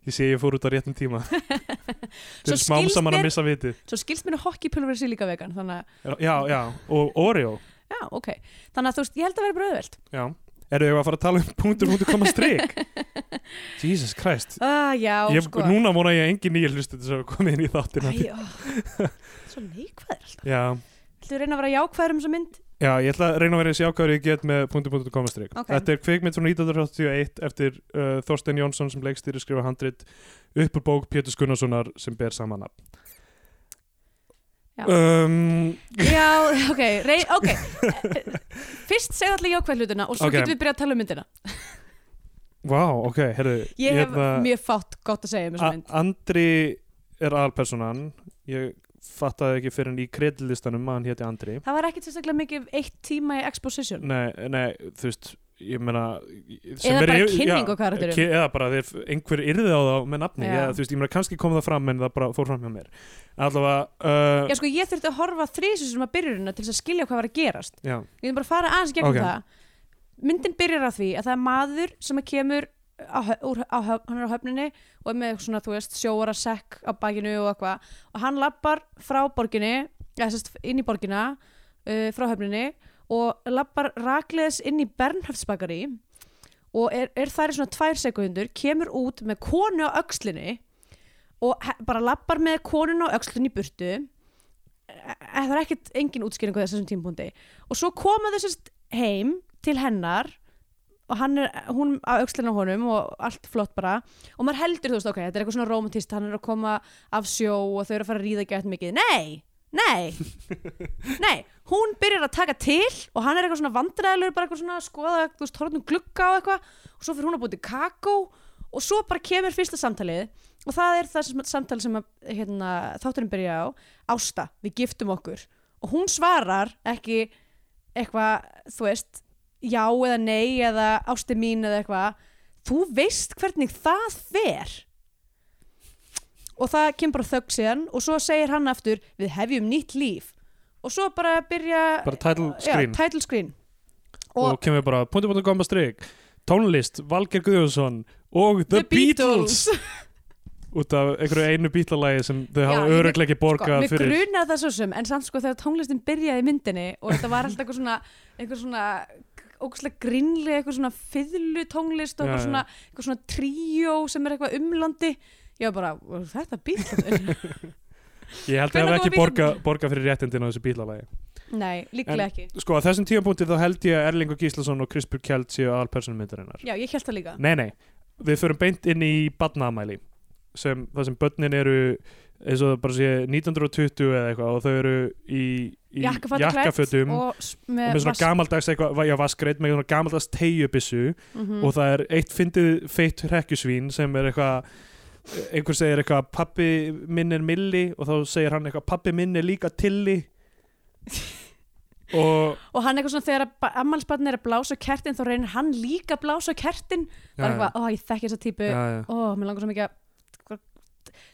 ég sé ég fór út á réttum tíma
Svo
til smám
skilst
saman
mér-
að missa viti
svo skilst mér að hokkipulver sé líka vegan þannig að
já, já, og Oreo
já, ok þannig að þú veist, ég held að vera bara auðvelt
Já, eru þau að fara að tala um punktur, punktur, koma, strik Jesus Christ
ah, já,
ég,
sko
Núna vona ég að engin nýja hlustu þess að koma inn í þáttina
Æ, ó, svo neikvæður alltaf
já,
Þú reyna að vera jákvæður um þessa mynd
já, ég ætla að reyna að vera eins jákvæður ég get með punktur, punktur, koma, strik
Ok.
Þetta er kvikmynd frá 1981 eftir uh, Þorstein Jónsson sem leikstýri skrifa handrit upp úr bók Pétur Skunnarssonar sem ber saman nafn
Já.
um,
Já, ok, rey, ok Fyrst segðu allir jákvæð hlutina og svo
Ok.
getum við byrjað að tala um myndina
Vá, ok, herru
Ég hef mjög fátt gott að segja um
Ah.
þessa mynd
Andri er aðalpersonan ég fattaði ekki fyrir hann í kredilistanum að hann héti Andri
Það var ekkit sérstaklega mikið eitt tíma í exposition
nei, nei, þú veist, ég meina sem
Eða
er-
bara
ég-
kynning
já,
á karakterum.
ki- eða bara þegar einhver yrði á þá með nafni
Já.
eða, þú veist, ég meina kannski kom það fram en það bara fór fram hjá mér allavega uh,
Já, sko, ég þurfti að horfa þrísu sem að byrjurina til þess að skilja hvað var að gerast
já,
Ég vil bara fara aðeins gegnum
Ok.
það Myndin byrjar á því að það er maður sem að kemur á, hö- úr, á, höf, hann er á höfninni og er með svona, þú veist, sjóara sekk á bakinu og eitthvað og hann lappar frá borginni, eða sérst inn í borgina uh, frá höfninni og lappar rakleðis inn í Bernhöftsbakari og er, er þar í svona tvær sekundur kemur út með konu á öxlinni og he- bara lappar með konuna á öxlinni í burtu e, e, það er ekkert engin útskýringu þessum tímpúndi og svo koma þau sérst heim til hennar og hann er, hún á öxlinna honum og allt flott bara og maður heldur þú veist, ok, þetta er eitthvað svona romantist hann er að koma af sjó og þau eru að fara að ríða gett mikið, nei, nei nei, hún byrjar að taka til og hann er eitthvað svona vandræðilegur bara eitthvað svona að skoða, þú veist, horfnum glugga og eitthvað og svo fyrir hún að búið til kakó og svo bara kemur fyrsta samtalið og það er það sem, samtalið sem að, hérna, þátturinn byrja á Ásta, við giftum okkur og hún svarar ekki eitthvað, þú veist já eða nei eða ásti mín eða eitthvað, þú veist hvernig það fer og það kemur bara þögg síðan og svo segir hann aftur við hefjum nýtt líf og svo bara byrja
bara title screen
Já, title screen
og,
og,
kemur bara punktu punktu gomba strik tónlist, Valger Guðjónsson og The, Beatles. út af einhverju einu bítlalagi sem þau
Já,
hafa
ég-
örugleiki borgað
sko,
fyrir
Mér grunaði það svo sem, en samt sko þegar tónlistin byrjaði í myndinni og þetta var alltaf eitthvað svona eitthvað svona ógustlega grinli eitthvað svona fiðlu tónlist og
Já,
eitthvað
já.
svona, eitthvað svona tríó sem er eitthvað umlandi ég var bara, "Var þetta bíl
Ég held að það
Hvenær
hef ekki
koma
borga,
bílarnir?
borga fyrir réttindin á þessu bílalagi.
Nei, líklega ekki
Sko, að þessum tímapunkti þá held ég að Erlingur Gíslason og Krispur Kjeld séu aðalpersonum myndarinnar.
Já, ég held það líka
Nei, nei, við förum beint inn í badnaamæli, sem, það sem börnin eru eins og það bara sé 1920 eða eitthvað og þau eru í, í
Jakkafötum klædd
jakkafötum og
og s- með,
með svona
vask-
gamaldags eitthvað, já, vaskreitt, með svona gamaldags teigjubissu
Mhm.
og það er eitt fyndið feitt hrekkjusvín sem er eitthvað einhver segir eitthvað pappi minn er milli og þá segir hann eitthvað pappi minn er líka tilli og
og hann eitthvað svona þegar ammalsbarn er að blása á kertin þá reynir hann líka að blása á kertin bara eitthvað, uh, ó ég þekki þessa típu
já, já.
ó, mér langar svo mikið að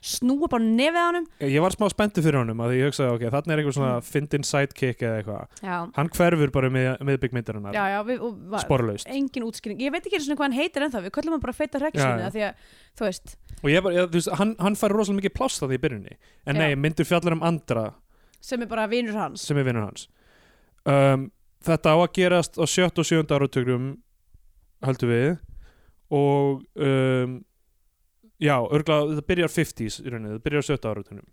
snúa bara nefið á honum
ég var smá spenntu fyrir honum að ég hugsaði ok, þarna er einhver svona
Mm.
fyndin sidekick eða eitthvað
já,
hann hverfur bara með, með byggmyndarinnar
já, já við, og, va-
sporlaust
engin útskýring, ég veit ekki einu sinni hvað hann heitir ennþá, við köllum hann bara feita
Já, já.
hrekkjusvínu því að, þú veist,
og ég bara, ég, þú veist, hann, hann fær rosalega mikið pláss það í byrjunni en nei,
Já.
myndur fjallar um andra
sem er bara vinur hans
sem er vinnur hans um, þetta á að gerast á 7. og 7. áratökrum heldur við og um, já, örgla, þetta byrjar 50s í rauninni, þetta byrjar á 7. áratökrum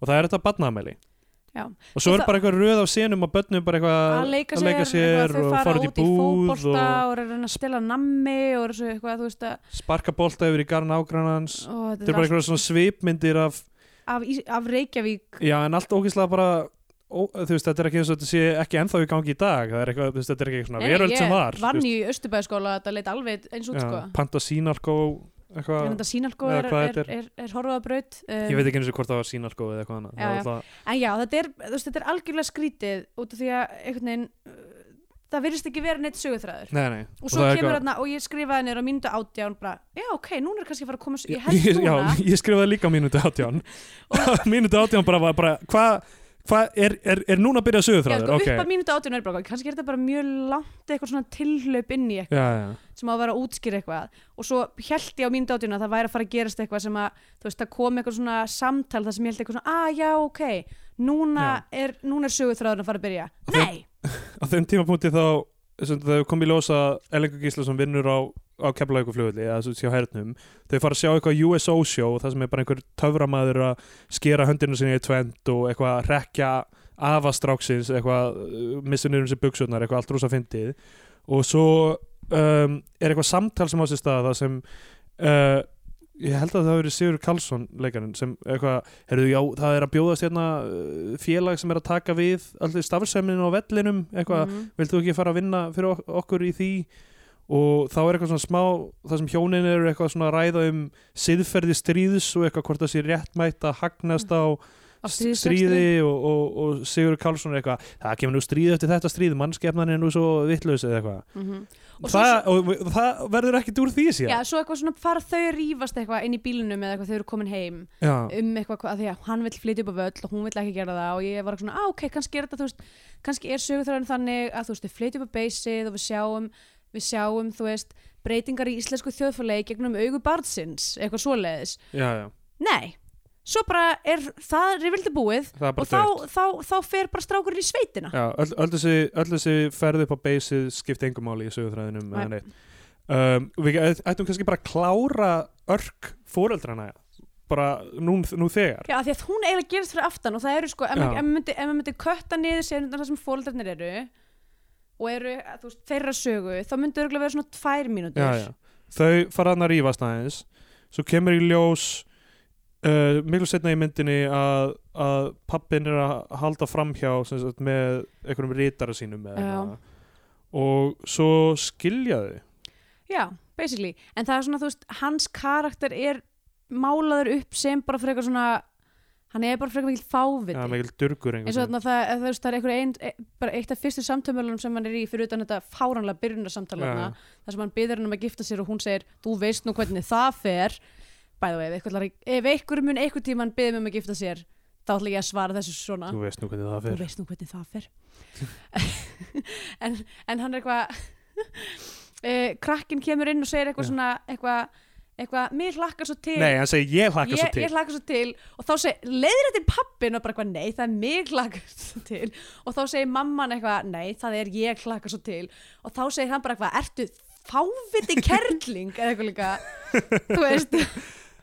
og það er þetta badnaðamæli
Já.
og svo
Og
er
það-
bara eitthvað röð af senum og börnum bara eitthvað
að leika
að
sér, eitthvað, þau
og
fara
fara út í búð
fótbolta
og
og, og reyna að stela nammi og er svo eitthvað, þú veist að
sparka bolta yfir í garn ágrannans
ó,
þetta er
þetta er
bara
allt
eitthvað svona svipmyndir af
af, Ís- af Reykjavík
Já, en allt ógeðslega bara ó, þú veist, þetta er ekki eins og þetta sé ekki ennþá í gangi í dag, það er eitthvað, þú veist, þetta er ekki svona
Nei,
veröld
ég
sem var
vann
þú
í Östubæðaskóla, þetta leit alveg eins út sko
Já, Panta Sinarko
en
eitthvað,
þetta sínalkó
eða
er,
hvað
er,
þetta
er, er, er horfaðabraut um,
ég veit ekki eins og hvort það var Sinarko eða eitthvað annað Það
Já,
var
já.
alltaf-
En já, þetta er, þú veist, þetta er algjörlega skrítið út af því að einhvern veginn uh, það virðist ekki vera neitt sögutræður
Nei, nei
og svo kemur
hann
þarna og ég skrifaði nýra mínútu átján bara, já ok, núna er kannski að fara að koma svo- ég held núna
Já, ég skrifaði líka mínútu átján Mínútu átján bara var bara hvað hva er, er, er núna að byrja
Já,
sögurþráður?
sko, upp að mínútu átján er bara eitthvað, kannski er þetta bara mjög langt eitthvað svona tilhlaup inn í eitthvað
Já, já,
sem á að vera að útskýra eitthvað og svo held ég á mínútu átján að það væri að fara að gerast eitthvað sem að, þú veist, það kom eitthvað svona samtal þar sem ég held eitthvað svona, ah já ok núna, er, núna er sögutræðurinn að fara að byrja
Og þau-
Nei,
á þeim tímapunkti þá sem þau kom í ljós að Elenga Gísla sem vinnur á, á Keflavíku flugulli eða sem sjá hernum, þau fara að sjá eitthvað USO sjó, það sem er bara einhver töframæður að skera höndina sinni í tvend og eitthvað að rekja afastráksins, eitthvað uh, missa niður um sér buksunar, eitthvað allt rúsa fyndið og svo um, er eitthvað samtal sem á sér staða það sem uh, ég held að það hafi verið Sigur Karlsson leikarinn sem eitthvað, heyrðu, já, það er að bjóðast hérna uh, félag sem er að taka við allir stafsemminu á vellinum eitthvað,
Mhm.
vilt þú ekki fara að vinna fyrir ok- okkur í því og þá er eitthvað svona smá, það sem hjónin eru eitthvað svona að ræða um siðferði stríðs og eitthvað hvort það sé réttmætt að hagnast á
Mm. Á
stríði,
stríðsrekstri.
og, og, og Sigur Karlsson er eitthvað, það kemur nú stríð eftir þetta stríð, mannskefnan er nú svo vittlaus eða eitthvað
Mhm. Og svo-
það, og, og, það verður ekkert úr því
Já,
síðan
svo eitthvað svona fara þau að rífast eitthvað inn í bílunum eða eitthvað þau eru komin heim
Já.
um eitthvað hvað, því að hann vill flytja upp á völl og hún vill ekki gera það og ég var svona, á ok, kannski er þetta, þú veist, kannski er sögurþræðin þannig að þú veist, við flytja upp á beysið og við sjáum, við sjáum, þú veist, breytingar í íslensku þjóðfélagi gegnum augu barnsins, eitthvað svoleiðis.
Já, já.
Nei, svo bara er það rivildi búið
það er bara
og þá, þá, þá fer bara strákurinn í sveitina.
Já, öll, öll, þessi, öll þessi ferð upp á beysið skipti engum máli í sögurþræðinum eða
Nei.
neitt. um, Við gæt- ættum kannski bara að klára örk fóreldrana bara nú, nú þegar
Já, af því að hún eiginlega gerist fyrir aftan og það eru sko, ef
Já.
maður ef maður myndi, ef maður myndi kötta niður sér undan það sem fólkarnir eru og eru, að, þú veist, þeirra sögu þá myndi örgulega vera svona tvær mínútur
já, já. Þau fara hann að rífast aðeins svo kemur í ljós uh, miklu setna í myndinni að, að pappin er að halda framhjá sem sagt, með einhverjum rítara sínum eða
Já.
eitthvað. og svo skilja þau
Já, basically, en það er svona, þú veist, hans karakter er málaður upp sem bara frekar svona hann er bara frekar mikil fáviti
ja, mikil durgur
eins og þarna það, það, það, það er einhver ein, e- bara eitt af fyrstu samtömmunum sem hann er í fyrir utan þetta fáránlega byrjunarsamtala
Já.
ja. þar sem hann byður hann um að gifta sér og hún segir þú veist nú hvernig það fer bæðu ef einhver, ef einhver mun einhver tíma hann byður mig um að gifta sér þá ætla ég að svara þessu svona
þú veist nú hvernig það
þú
fer
veist nú hvernig það fer en, en hann er eitthvað uh, krakkin kemur inn og segir eitthvað
Já.
svona eitthvað, eitthvað, mér hlakkar svo til
nei, hann segir ég hlakka
ég,
svo til
ég hlaka svo til og þá segir, leiðir þetta í pappin og bara eitthvað, nei, það er mig hlaka svo til og þá segir mamman eitthvað, nei, það er ég hlaka svo til og þá segir hann bara eitthvað, ertu fáviti kerling eða eitthvað líka þú veist,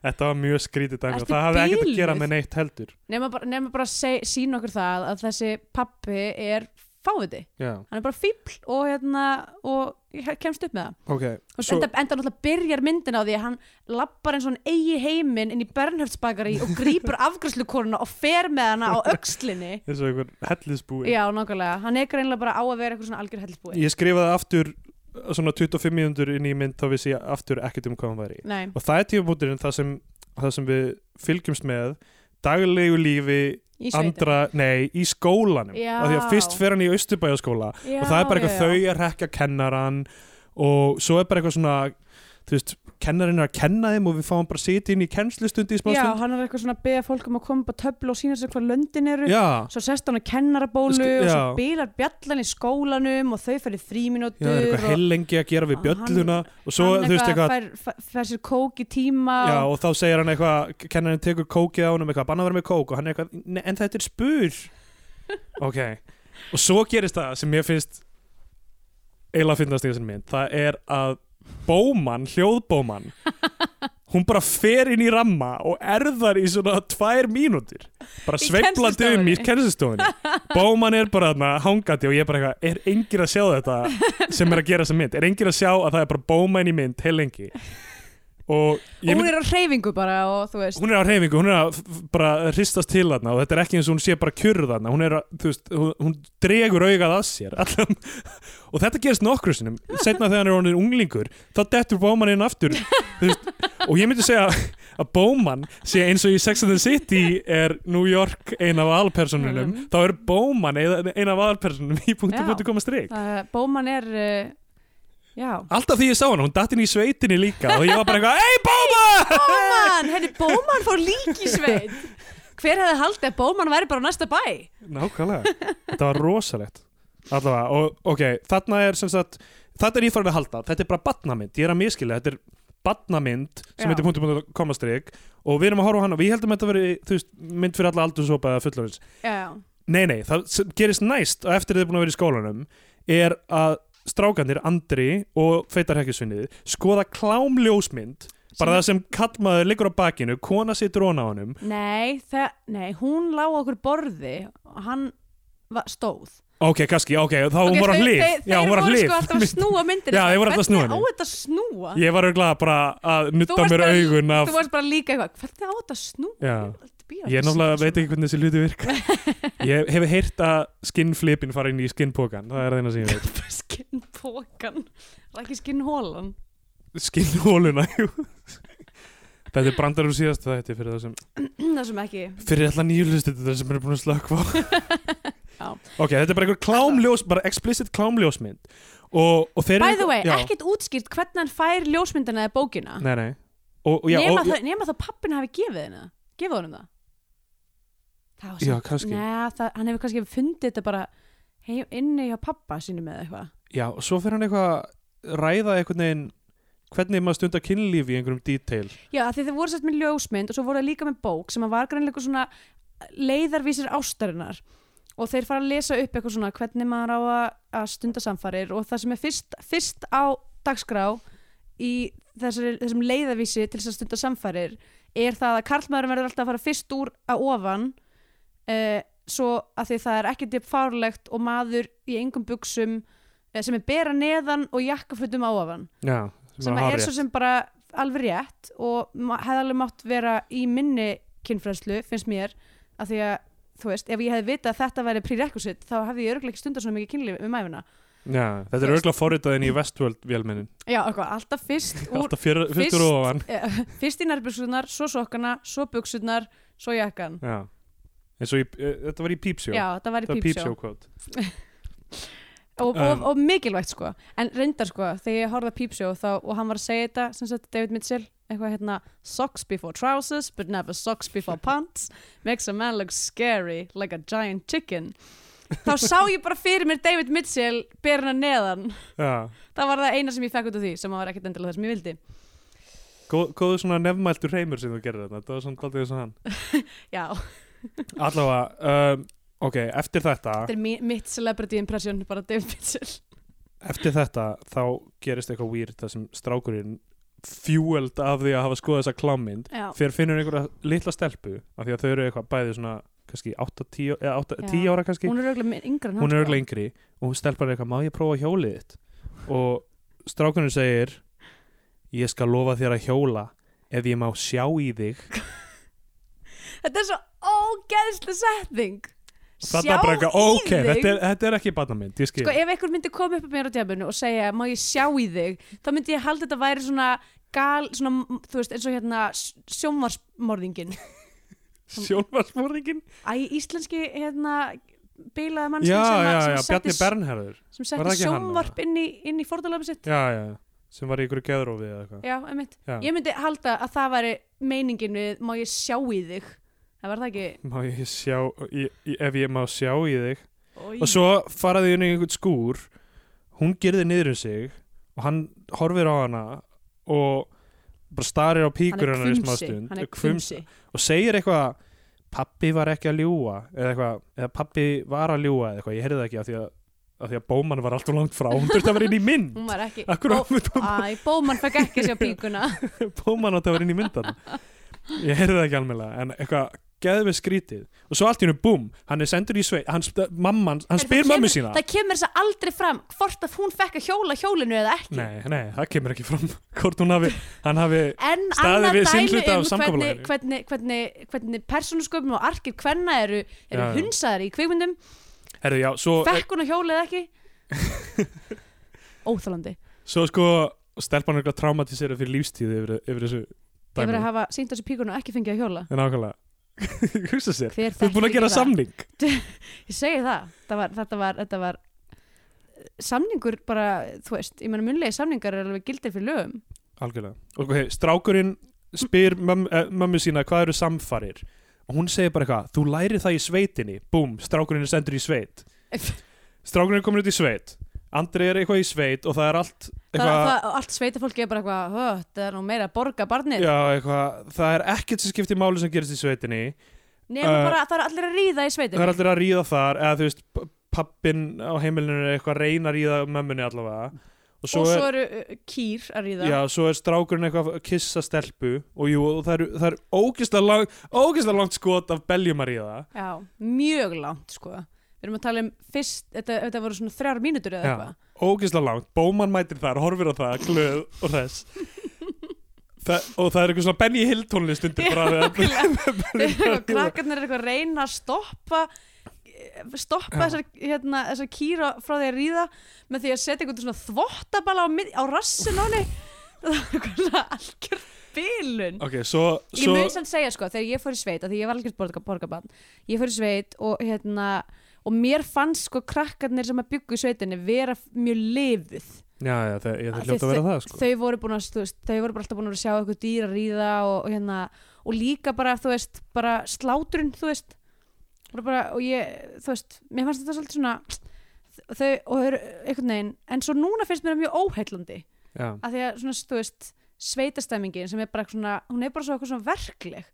Þetta var mjög skrítið dæmi og
Ertu
það hafði ekkert að
biluð?
gera með neitt heldur
nema bara, nema bara seg, sín okkur það að þessi pappi er fáviti,
Já,
hann er bara fíbl og hérna, og ég kemst upp með það
ok
Þú veist, enda, enda náttúrulega byrjar myndin á því að hann lappar eins og hann eigi heiminn inn í Bernhöftsbakari og grípur afgræslukoruna og fer með hana á öxlinni
Eins og einhver hellisbúi
Já, nákvæmlega, hann er greinlega bara á að vera eitthvað svona algjör hellisbúi
Ég skrifaði aftur uh, svona 25 mínútur inn í mynd þá vissi ég aftur ekkert um hvað hann væri
Nei,
Og það er tímabúturinn það sem, það sem við fylgjumst með daglegu lífi
í sveitin
andra, nei, í skólanum
Já.
af því að fyrst fer hann í austurbæjaskóla
já,
og það er bara eitthvað
já, já.
þau að rekja kennaran og svo er bara eitthvað svona þú veist, kennarinn er að kenna þeim og við fáum bara að sitja inn í kennslustundi í smá
Já,
stund
hann er eitthvað svona að beða fólk um að koma upp á töflu og sína sér hvað löndin eru
Já,
Svo sest hann á kennarabólu
Sk-
og
já.
svo bílar bjallan í skólanum og þau fyrir
Já,
fríminútur
það er eitthvað heilengi að gera við
Hann-
bjölluna og svo, þú veist, eitthvað
fær, fær, fær sér kók í tíma
Já,
og,
og þá segir hann eitthvað, kennarinn tekur kókið á honum eitthvað, banna að vera með kók og hann er eitthvað, "Nei, en þetta er spur Ok, og svo gerist það sem ég finnst eiginlega finnast í þessin mynd, það er að bóman, hljóðbóman hún bara fer inn í ramma og erðar í svona tvær mínútur bara
Í
sveiplandi um í
kennslustofunni.
kennslustofunni bóman er bara þarna hangandi og ég er bara eitthvað, er engir að sjá þetta sem er að gera þessa mynd, er engir að sjá að það er bara bóman í mynd heil lengi og, ég
hún
myndi-
er á hreyfingu bara og þú veist
hún er á reyfingu, hún er að f- f- bara hristast til þarna og þetta er ekki eins og hún sé bara kjurð þarna, hún er að, þú veist, hún, hún dregur augað að sér allan, og þetta gerist nokkru sinum, setna þegar hann er orðin unglingur, þá dettur Bóman inn aftur, þú veist, og ég myndi segja að Bóman sé eins og í Sex and the City er New York ein af aðalpersonunum, þá er Bóman ein ein af aðalpersonunum í punktu
Já.
punktu koma streik.
uh, Bóman er uh, Já
Alltaf því ég sá hann, hún datt inn í sveitinni líka og ég var bara eitthvað, ei Bóman!
Bóman, henni Bóman fór líki sveit Hver hefði haldið að Bóman væri bara á næsta bæ?
Nákvæmlega, þetta var rosalegt Allavega, og ok, þarna er sem sagt, þetta er ég farin að halda Þetta er bara batnamynd, ég er að miskilja Þetta er batnamynd sem
Já.
heitir punktu punktu komastrik og við erum að horfa á hana og við heldum að þetta veri þú veist, mynd fyrir alla aldurshópa eða fullorins
Já,
Nei, nei, það sem gerist næst að eftir þið er búin að vera í skólanum er að strákanir Andri og Feitarhekkjusvinnið skoða klámljósmynd bara það sem kallmaður liggur á bakinu kona situr ón á honum
Nei, það, nei, hún lá á okkur borði og hann var, stóð
ok, kannski, ok, þá hún
Ok,
var á
þeir-
hlið já,
þeir-
hún
Þeir
var á
voru
hlið
sko alltaf að snúa myndinni sko.
Já, þeir voru alltaf að snúa
Hvernig á
henni.
þetta að snúa?
ég var auðvitað bara að
Þú
nutta
varst
mér
bara-
augun af,
Þú varst bara líka eitthvað, hvernig á þetta að snúa?
Já.
Já.
ég náttúrulega veit ekki hvernig þessi hluti virka ég hef heyrt að skinnflipin fara inn í skinnpokan, það er það eina sem ég veit
Skinnpokan, það er ekki skinnhólan
skinnhóluna, jú þetta er brandar úr síðast það fyrir það sem
Það sem ekki
fyrir alltaf nýju hlustendur sem eru búin að slökva
Já.
ok, þetta er bara einhver klámljós bara explicit klámljósmynd og, og þeir
By the way,
já.
ekkert útskýrt hvernig hann fær ljósmyndina eða bókina
nei, nei. Og, og, já,
nema,
og,
þá, nema þá pappin hafi gefið henni það gefið honum það það var
Já,
samt-
kannski.
Nei, það, hann hefur kannski fundið þetta bara hei, inni hjá pappa sínum eða eitthvað
já, og svo fyrir hann eitthvað að ræða einhvern veginn hvernig maður stundar kynlíf í einhverjum detail
já, af því þið voru sett með ljósmynd og svo voru það líka með bók sem að var grannleikur svona eh, leiðarvísir ástarinnar og þeir fara að lesa upp eitthvað svona hvernig maður á að, að stunda samfarir og það sem er fyrst, fyrst á dagskrá í þessari, þessum leiðavísi til þess að stunda samfærir er það að karlmaðurinn verður alltaf að fara fyrst úr að ofan uh, svo að því það er ekkert upp fárlegt og maður í engum buksum uh, sem er bera neðan og jakkafutum á ofan
já,
sem
er
er
hárrétt.
svo sem bara alveg rétt og ma- hefði alveg mátt vera í minni kynfræðslu, finnst mér að því að, þú veist, ef ég hefði vitað að þetta væri prerequisite, þá hefði ég örgulega ekki stundar svona mikið kynlíf um æfina.
já, þetta er örgulega forritaðin í Westworld vélmennin
Já, eitthvað, alltaf fyrst úr,
alltaf fyrir,
fyrst-
fyrir og ofan
eh, fyrst í nærbuksunar, svo sokkana svo buksunar, svo jakkan
já. eins og í, eh, þetta var í Pípsjó
Já, það var í
þetta var
pípsjó
Pípsjó kvot
og,
Um.
og, og mikilvægt sko en reyndar sko, þegar ég horfði að pípsjó þá, og hann var að segja þetta, sem sagt David Mitchell eitthvað hérna, socks before trousers but never socks before pants makes a man look scary like a giant chicken þá sá ég bara fyrir mér David Mitchell berina neðan,
já,
það var það eina sem ég fekk út af því sem var ekkert endilega það sem ég vildi
Góð, góðu svona nefnmæltur heimur sem þú gerir þetta, þetta var svona daldið eins og hann
já,
Allavega, um, ok, eftir þetta
þetta er mi- mitt celebrity impression bara David Mitchell
Eftir þetta þá gerist eitthvað weird þar sem strákurinn fjúeld af því að hafa skoðað þessa klámynd
já,
fyrir finnur einhverja litla stelpu af því að þau eru eitthvað bæði svona kannski 8-10 eða 8,
Já.
10 ára kannski
hún er auðvitað yngra en hann,
hún er
sko.
örglega yngri og hún stelpar eitthvað má ég prófa hjólið þitt og strákurinn segir ég skal lofa þér að hjóla ef ég má sjá í þig
Þetta er svo ógeðslu setning
Þarna er bara eitthvað, ok, þetta er, þetta er ekki barnamynd, ég skil
Sko ef einhver myndi koma upp að mér á djafinu og segja má ég sjá í þig þá myndi ég halda þetta væri svona gal, svona, þú veist, eins og hérna s- sjónvarsmorðingin
Sjónvarsmorðingin
Æ, íslenski, hérna beilaði
Já,
mannskinn sem,
já,
að-
já,
sem,
Bjarni
setti-
Bernherður Var
sem
það
setti
ekki hann,
sjónvarp inn í, inn í fordalami sitt
Já, já, já, sem var í ykkur geðrófi eða eitthvað
Já, einmitt
Já.
Ég myndi halda að það væri meiningin við má ég sjá í þig Það var það ekki
Má ég sjá, ég, ég, ef ég má sjá í þig
Oj.
Og svo faraði inn í einhvern skúr Hún gerði niður um sig Og hann horfir á hana Og bara starir á
Hann
píkur
er
hennar í smá
kvumsi,
stund
hann er
er hvumsi.
kvumsi
Og segir eitthvað Pappi var ekki að ljúga Eða eitthvað, eða pappi var að ljúga eða eitthvað Ég heyrði það ekki af því að, af því að bóman var alltaf langt frá Hún þurfti að vera inn í mynd
Hún var ekki
Akkur
Ó,
áfum
Æ, Bóman fekk ekki að sjá píkuna
Bóman átti að vera inn í myndan ég heyrði það ekki alveg en eitthvað geðum við skrítið og svo allt í hennu búm, hann er sendur í sveit hann, sp- mamman, hann
Það
spyr
kemur-
mammu sína
Það kemur þess að aldrei fram hvort að hún fekk að hjóla hjólinu eða ekki
nei, nei, það kemur ekki fram hvort hún hafi, hann hafi
En
Staðið
annað
við sinn
dæmi
hluta af
um hvernig,
samkomulaginu.
hvernig, hvernig, hvernig persónusköpum og arkir hvenna eru, eru
Já, já.
hunsaðar í kvikmyndum
herru, já, svo,
Fekk hún að hjóla eða ekki Óþálandi
svo sko stelpan er eitthvað traumatisera fyrir lífstíð yfir, yfir þessu
Ég verið
dæmi
að hafa sínt þessu píkuna og ekki fengið að hjóla
en ákvæmlega, hugsa sér
Hver
þú er búin
þekkir
að gera
það?
samning
Ég segi það, það var, þetta, var, þetta var eh, samningur bara, þú veist ég meina munlegi samningar er alveg gildir fyrir lögum
algjörlega, og okay, strákurinn spyr mömmu, eh, mömmu sína hvað eru samfarir og hún segir bara eitthvað, þú lærir það í sveitinni búm, strákurinn er sendur í sveit strákurinn er komin út í sveit Andri er eitthvað í sveit og það er allt
það,
eitthvað,
það, allt sveitafólki er bara eitthvað "Hö, þetta er nú meira að borga barnið
já, eitthvað það er ekkert sem skiptir máli sem gerist í sveitinni
Nefnum
Eh,
bara að það eru allir að ríða í sveitum
það er allir að ríða þar eða þú veist, pappin á heimilinu er eitthvað að reyna að ríða mömmunni allavega og svo,
Og svo
er,
eru uh, kýr að ríða
já, svo er strákurinn eitthvað að kissa stelpu og jú, og það er, það er ógislega, lang, ógislega langt skot af beljum að ríða
Já, mjög langt sko Við erum að tala um fyrst Þetta, þetta voru svona þrjár mínútur eða
Já.
eitthvað
ógislega langt, bóman mætir þar, horfir á það glöð og þess Þa, og það er eitthvað svona Benny Hill tónlist undir bara við að-
og krakkarnir er eitthvað að reyna að stoppa eh, stoppa
Já.
þessar, hérna, þessar kýra frá því að ríða með því að setja einhvern svona þvottabala á, mið, á rassin á henni það var eitthvað svona algjör bílun
ok, svo,
ég
svo
mun samt segja sko, þegar ég fór í sveit af því ég var algjörð borga, borgabann ég fór í sveit og hérna og mér fannst sko krakkarnir sem að byggu í sveitinni vera mjög lifuð
já, já, það, ég, það
Af því
hljóta að vera það sko.
þau voru búin að, þú veist, þau voru bara alltaf búin að sjá eitthvað dýr að ríða og, og hérna, og líka bara, þú veist, bara slátrun, þú veist voru bara, og ég, þú veist mér fannst þetta svolítið svona þau, og þau eru einhvern veginn, en svo núna finnst mér það mjög óheillandi,
já,
af því að svona, þú veist, sveitastemmingin sem er bara eitthvað svona, hún er bara svo eitthvað svona verkleg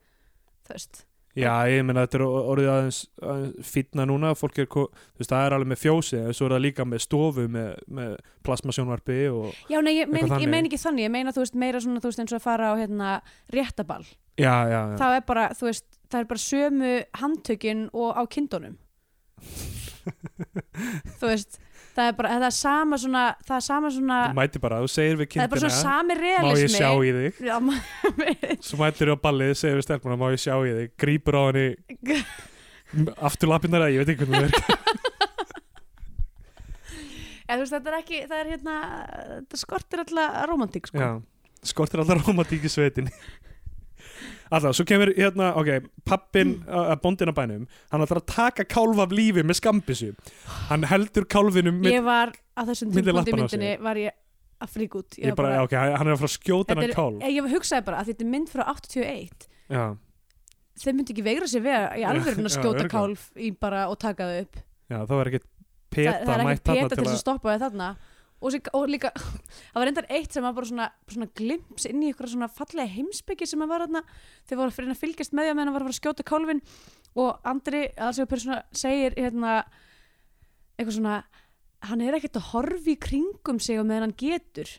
þú veist,
já, ég meina þetta er orðið aðeins, aðeins fýtna núna, fólk er ko- þú veist, það er alveg með fjósi, en svo er það líka með stofu með, með plasmasjónvarpi og,
já, nei, ég
Eitthvað
meina ekki,
þannig.
mein ekki þannig, ég meina, þú veist, meira svona, þú veist, eins og að fara á, hérna, réttaball
já, já, já,
þá er bara, þú veist, það er bara sömu handtökin og á kindunum þú veist það er bara, það er sama svona það er sama svona,
þú mætir bara, þú segir við
það er bara svona
kindina, má
sami
ég
realismi
sjá í þig
Já, ma-
svo mætir þú á ballið, segir við stelpuna má ég sjá í þig, grýpur á henni afturlappinnar, ég veit ekki hvernig það er
eða þú veist, þetta er ekki, það er hérna þetta skortir alltaf romantík sko.
já, skortir alltaf romantík í sveitin alltaf, svo kemur hérna, ok, pappin mm. bóndin að bænum, hann ætlar að taka kálf af lífi með skambissu hann heldur kálfinum með,
ég var, á þessum
milli
tímpúndi
lappanna á
myndinni var ég að frík út
ég bara, ok, hann er að fara að skjóta
þetta
hann kálf
er, e- ég hugsaði bara að þetta er mynd frá 81
já,
þeir myndi ekki veigra sér við að- í
Já,
alveg að
já,
skjóta
örugglega.
kálf í bara og taka þau upp
já, það var ekkert
Þa, það
peta
er ekkert
mætt
peta
þarna
til þess að stoppa þið þarna og, sig, og líka, það var reyndar eitt sem var bara svona, svona glimps inn í ykkur svona fallega heimsbyggi sem að var þarna þeir voru fyrir að fylgjast með því að meðan hann var að fara að skjóta kálfin og Andri, aðalsegur persóna segir hérna eitthvað svona, hann er ekkert að horfi í kringum sig og meðan hann getur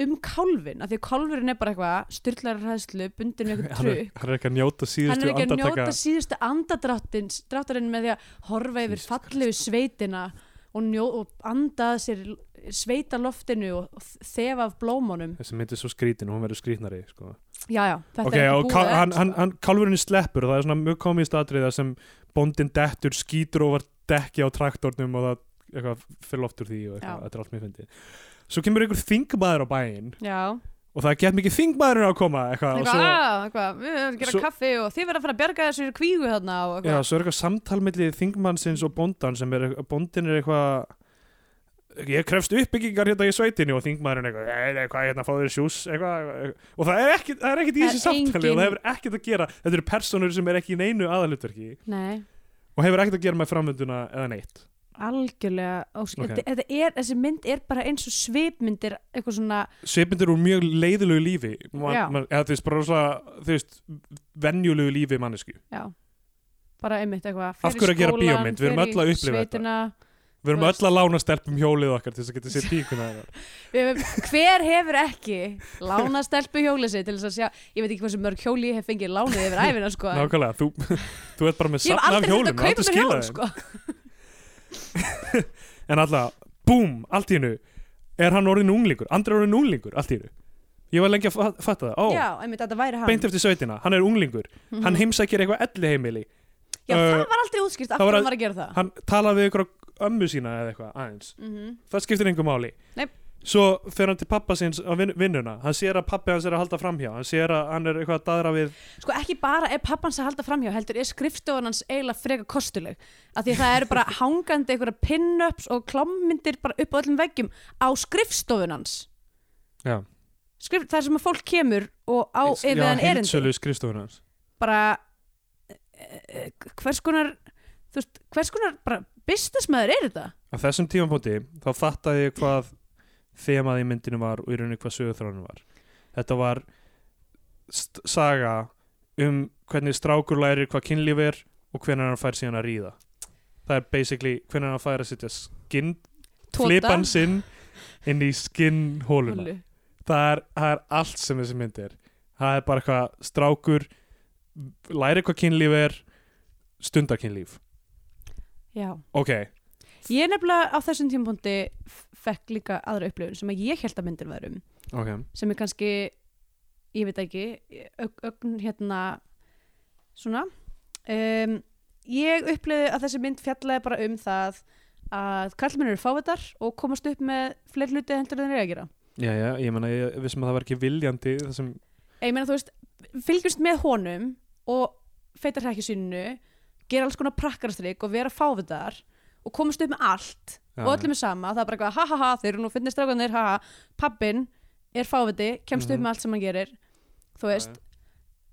um kálfin, af því að kálfurinn er bara eitthvað styrlar hræðslu, bundin við eitthvað
hann er,
trukk
hann er ekki að njóta
hann
síðustu
er ekki að
andartaka
njóta síðustu andadráttarinn með því að horfa yfir
Jesus
fallegu sveitina og, njó, og anda að sér sveita loftinu og þefa af blómunum
þessi mynd er svo skrítin og hún verður skrítnari sko.
já, já, þetta
ok,
er
og
ekki
kál,
búið
hann,
enn,
hann,
sko.
hann, kálfurinn sleppur og það er svona mjög komist atriða sem bóndin dettur, skýtur over dekki á traktornum og það eitthvað fyrir loftur því og eitthvað,
Já.
þetta er allt mér fyndið svo kemur einhver þingmaður á bæinn
já,
og það er gett mikið þingmaður að koma eitthvað, og
eitthvað,
svo,
að, eitthvað, við verðum að gera
svo-
kaffi og þið verða að fara að berga þessu kvígu þarna og
já,
eitthvað
svo er eitthvað samtal milli þingmannsins og bóndan sem er, bóndin er eitthvað ég krefst uppbyggingar hérna í sveitinni og þingmaðurinn eitthvað, "Nei, nei, hvað hérna fáður sjús eitthvað, eitthvað." og það er ekkit, það er ekkit í
Það
þessu
er
samtali og það
engin-
hefur ekkit að gera þetta eru personur sem er ekki í neinu aðalutverki
nei,
og hefur ekkert að gera með framönduna eða neitt
algjörlega ósk,
Ok.
okay. þetta er, þessi mynd er bara eins og svipmyndir eitthvað svona,
svipmyndir úr mjög leiðilegu lífi man,
Já.
man, eða þú veist, bara svona, þú veist venjulegu lífi mannesku
já bara einmitt eitthvað,
Af hverju að gera bíómynd? Við erum
fer í
öll að upplifa þetta.
sveitina.
við erum
Þú
öll að lána stelpum hjólið okkar til þess að geta sér píkuna þeirra.
Við- hver hefur ekki lána stelpu hjólið sig til þess að sjá ég veit ekki hversu mörg hjóli ég hef fengið lánið yfir æfina sko. en
nákvæmlega, þú, þú ert bara með
ég
safn
hef
af
aldrei
hjólum
þurft að kaupa
og
mér
skila
hjól
þeim.
sko.
en alltaf, búm, allt í hennu er hann orðin unglingur, andri orðin unglingur allt í hennu, ég var lengi að fa- fatta það ó,
já, einmitt þetta væri hann
beint eftir sveitina, hann er unglingur
Mhm.
hann heimsækir eitthvað elli heimili
já,
uh,
það var aldrei útskýrt af
það var að-
hverju hann var að gera það
hann talaði við ykkur ömmu sína eða eitthvað aðeins
mm
það skiptir einhver máli
Nei.
svo fer hann til pappa síns á vin, vinnuna hann sér að pappi hans er að halda framhjá hann sér að hann er eitthvað að daðra við
sko ekki bara er pappans að halda framhjá heldur er skrifstofan hans eiginlega freka kostuleg af því að það eru bara hangandi einhverja pin-ups og klámyndir bara upp á öllum veggjum á skrifstofun hans
Já.
Skrif, það er sem að fólk kemur og á yfir hann erindi
heimtsölu skrifstofun hans
bara eh, eh, hvers konar þú veist, hvers konar bara businessmaður er þetta?
á þessum tímapunkti þá fattaði ég hvað þemað í myndinu var og í rauninni hvað sögurþránu var þetta var st- saga um hvernig strákur lærir hvað kynlíf er og hvernig hann fær síðan að ríða það er basically hvernig hann fær að setja skinn
Tota.
flipan sinn inn í skinnhóluna
Hólu.
það er, það er allt sem þessi mynd er það er bara eitthvað strákur læri hvað kynlíf er stundar kynlíf
Já.
ok,
Ég nefnilega á þessum tímapunkti f- fekk líka aðra upplifun sem að ég held að myndin var um
ok,
sem er kannski, ég veit ekki ögn, ögn hérna svona um, ég upplifði að þessi mynd fjallaði bara um það að kallmenn eru fávitar og komast upp með fleiri hluti heldur en þeir eru að gera
já já, ég menna ég vissum að það var ekki viljandi þessum,
ég meina þú veist, fylgjumst með honum og feitar hrekki sínu gera alls konar prakkarastrygg og vera fávitar og komast upp með allt
Já,
og
já.
öllum er sama, það er bara eitthvað ha ha ha, þeir eru nú finnir strákanir, ha ha pappin er fáviti, kemst upp
Mhm.
með allt sem hann gerir þú veist,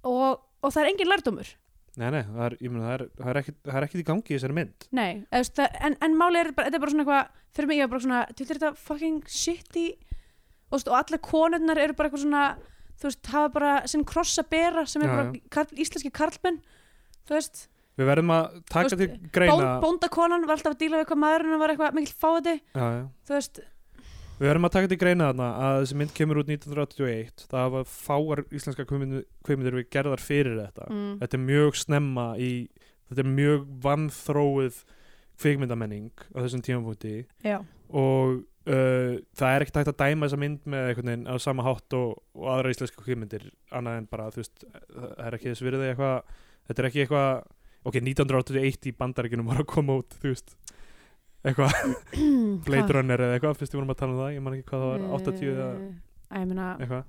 og, og það er engin lærdómur
nei nei, það er, ég meina það er, það er ekkit- það er ekkit í gangi í þessari mynd
nei, eða þú veist, það, en, en máli er bara, þetta er bara svona eitthvað, fyrir mig ég er bara svona þetta er þetta fucking shitty og, þú veist, og allar konurnar eru bara eitthvað svona þú veist, hafa bara sinn kross að bera sem er
Já,
bara
já.
karl, íslenski karlmenn þú veist
Við verðum að taka
Þú
til
veist,
greina
Bón, bóndakonan var alltaf að díla við eitthvað maðurinn var eitthvað mikill fáiði
já, já.
þú veist,
Við verðum að taka til greina þarna að þessi mynd kemur út 1981 það var fáar íslenska kveimyndir við gerðar fyrir þetta
mm,
Þetta er mjög snemma í þetta er mjög vannþróið kveikmyndamenning á þessum tímapunkti
já,
og uh, það er ekkert hægt að dæma þessa mynd með einhvern veginn á sama hátt og, og aðra íslenska kveikmyndir annað en bara þú veist það er ekki þess virði eitthvað þetta er ekki eitthvað ok 1981 í bandaríkinum var að koma út þú veist eitthvað Blade Runner eða eitthvað, fyrst við vorum að tala um það ég man ekki hvað það var, 80 eða
að Eh, ég meina,
eitthvað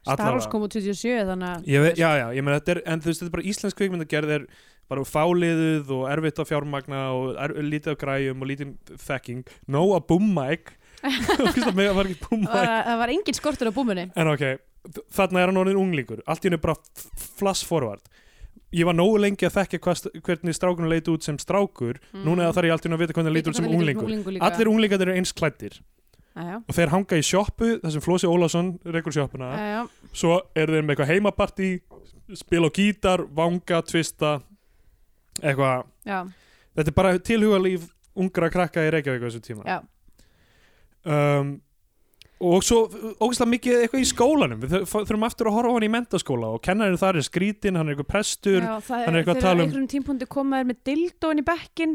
Star
Allavega.
Wars kom úr 27 þannig að
ég veit, já, já, ég meina þetta er, en þú veist, þetta er bara íslensk kvikmyndagerð er bara fáliðuð og erfitt á fjármagna og er, lítið á græjum og lítið þekking nóg að búma ek það var ekki búma
var, það var engin skortur á búmunni
En ok, þ- þarna er hann orðin unglingur Allt í hennu bara f- flash forward Ég var nógu lengi að þekka hvað, st- hvernig strákunum leit út sem strákur Núna þarf ég allt í hennu að Mm. vita hvernig hann leit út sem unglingur Allir unglingarnir eru eins klæddir
unglingur
Og þeir hanga í sjoppu, þar sem Flósi Ólafsson rekur sjoppuna Svo eru þeir með eitthvað heimapartí Spila á gítar, vanga, tvista Eitthvað
já,
Þetta er bara tilhugalíf ungra krakka í Reykjavík á þessu tíma
já,
um, og svo ógæslega mikið eitthvað í skólanum við þur- þurfum aftur að horfa á hann í mentaskóla og kennarinn þar er skrítin, hann er eitthvað prestur já,
já það
hann er eitthvað að
þegar
tala um-
einhverjum tímpúndi komaður með dildóin í bekkin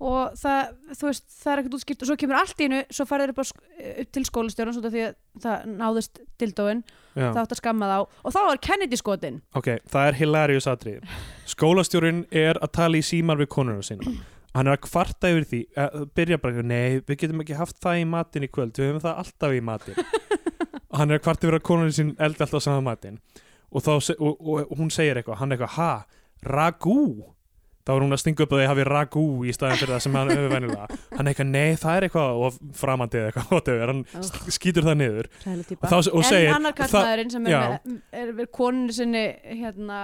og það, þú veist, það er ekkert útskýrt og svo kemur allt í einu, svo farið þeir upp, á sk- upp til skólastjórnum svo því að það náðist dildóin,
já.
það átt að skamma þá og þá var Kennedy skotin
ok, það er hilarious atrið skólastjórinn er að tala í símar við konuna sína hann er að kvarta yfir því að byrja bara, nei, við getum ekki haft það í matinn í kvöld, við höfum það alltaf í matinn og hann er að kvarta yfir að konuna sín eldi alltaf saman matinn og, þá, se- og, og, og hún segir eitthvað, hann er eitthvað ha, ragú þá er hún að stinga upp að þið hafi ragú í staðin fyrir það sem hann hefur venjulega hann er eitthvað, nei, það er eitthvað og framandi eða eitthvað, whatever, hann
Ugh.
skýtur það niður
Sælu típa.
og, þá, og segir
en annar
það-
kallmaðurinn sem er,
já.
með, er með koninu sinni hérna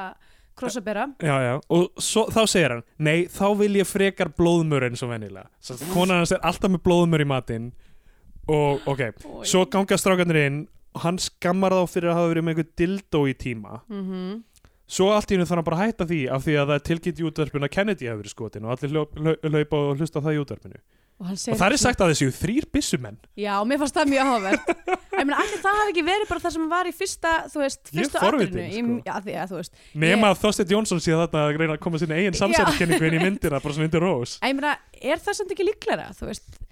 krossabera
Já, já, og svo, þá segir hann Nei, þá vil ég frekar blóðmör eins og venjulega Svo konan hans er alltaf með blóðmör í matinn Og, ok, svo ganga strákarnir inn Og hann skammar þá fyrir að hafa verið með einhver dildó í tíma
mm
Svo allt í hennu þannig að bara að hætta því Af því að það er tilkynnt í útverfinu að Kennedy hafi verið skotin Og allir hljó- hljó- hlaupa og hlusta á það í útverfinu
og, hann
Og
segir
það er sagt að þessi þrýr byssumenn
já, mér fannst það mjög áhugavert en meni, allir það hafi ekki verið bara það sem var í fyrsta þú veist,
Ég er
fyrstu
forvitin,
atrinu í,
sko.
já, því, ja, þú veist
Nema að Þorsteinn Jónsson sé þarna að reyna að koma sinni eigin samsætkenningu inn í myndina Bara svona undir rós
en, meni, er það samt ekki líklara þú veist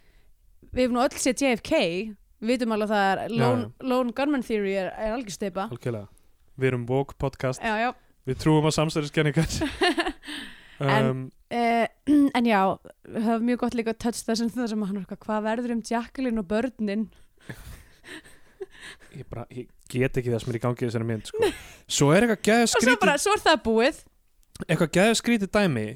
við hefum nú öll sétt JFK við vitum alveg að það er lone, lone gunman theory er, er algjör steipa
Algjörlega, við erum Vogue podcast
já, já
Við trúum á samstæðiskenningar
En-
um,
Uh, en já, það var mjög gott líka að touch þessum það sem hann var eitthvað, hvað verður um Jacqueline og börnin
ég, bara, ég get ekki það sem er í gangi í þessari mynd sko. Svo er eitthvað gæða
og svo
skrítið
bara, svo er það búið
eitthvað gæða skrítið dæmi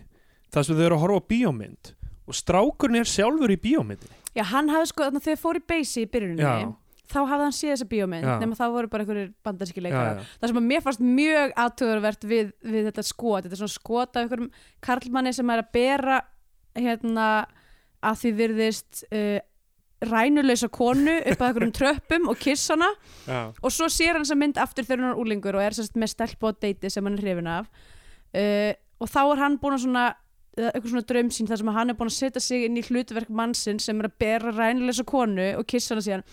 þar sem þau eru að horfa á bíómynd og strákurinn er sjálfur í bíómyndinni
Já, hann hafði sko, þannig að þegar fór í beysi í byrjuninni
Já.
þá hafði hann séð þessa bíómynd
Já.
nema þá voru bara einhverjir bandarski
Já, já.
leikara það sem að mér fannst mjög aðtöðurvert við, við þetta skot, þetta er svona skot af einhverjum karlmanni sem er að bera hérna að því virðist uh, rænulösa konu upp að einhverjum tröppum og kissa hana
já,
og svo sér hann þessa mynd aftur þegar hann er úlingur og er sérst með stelpu á deiti sem hann er hrifin af uh, og þá er hann búin að svona eða eitthvað svona draum sín þar sem hann er búin að setja sig inn í hlutverk mannsinn sem er að bera rænleisa konu og kissa hana síðan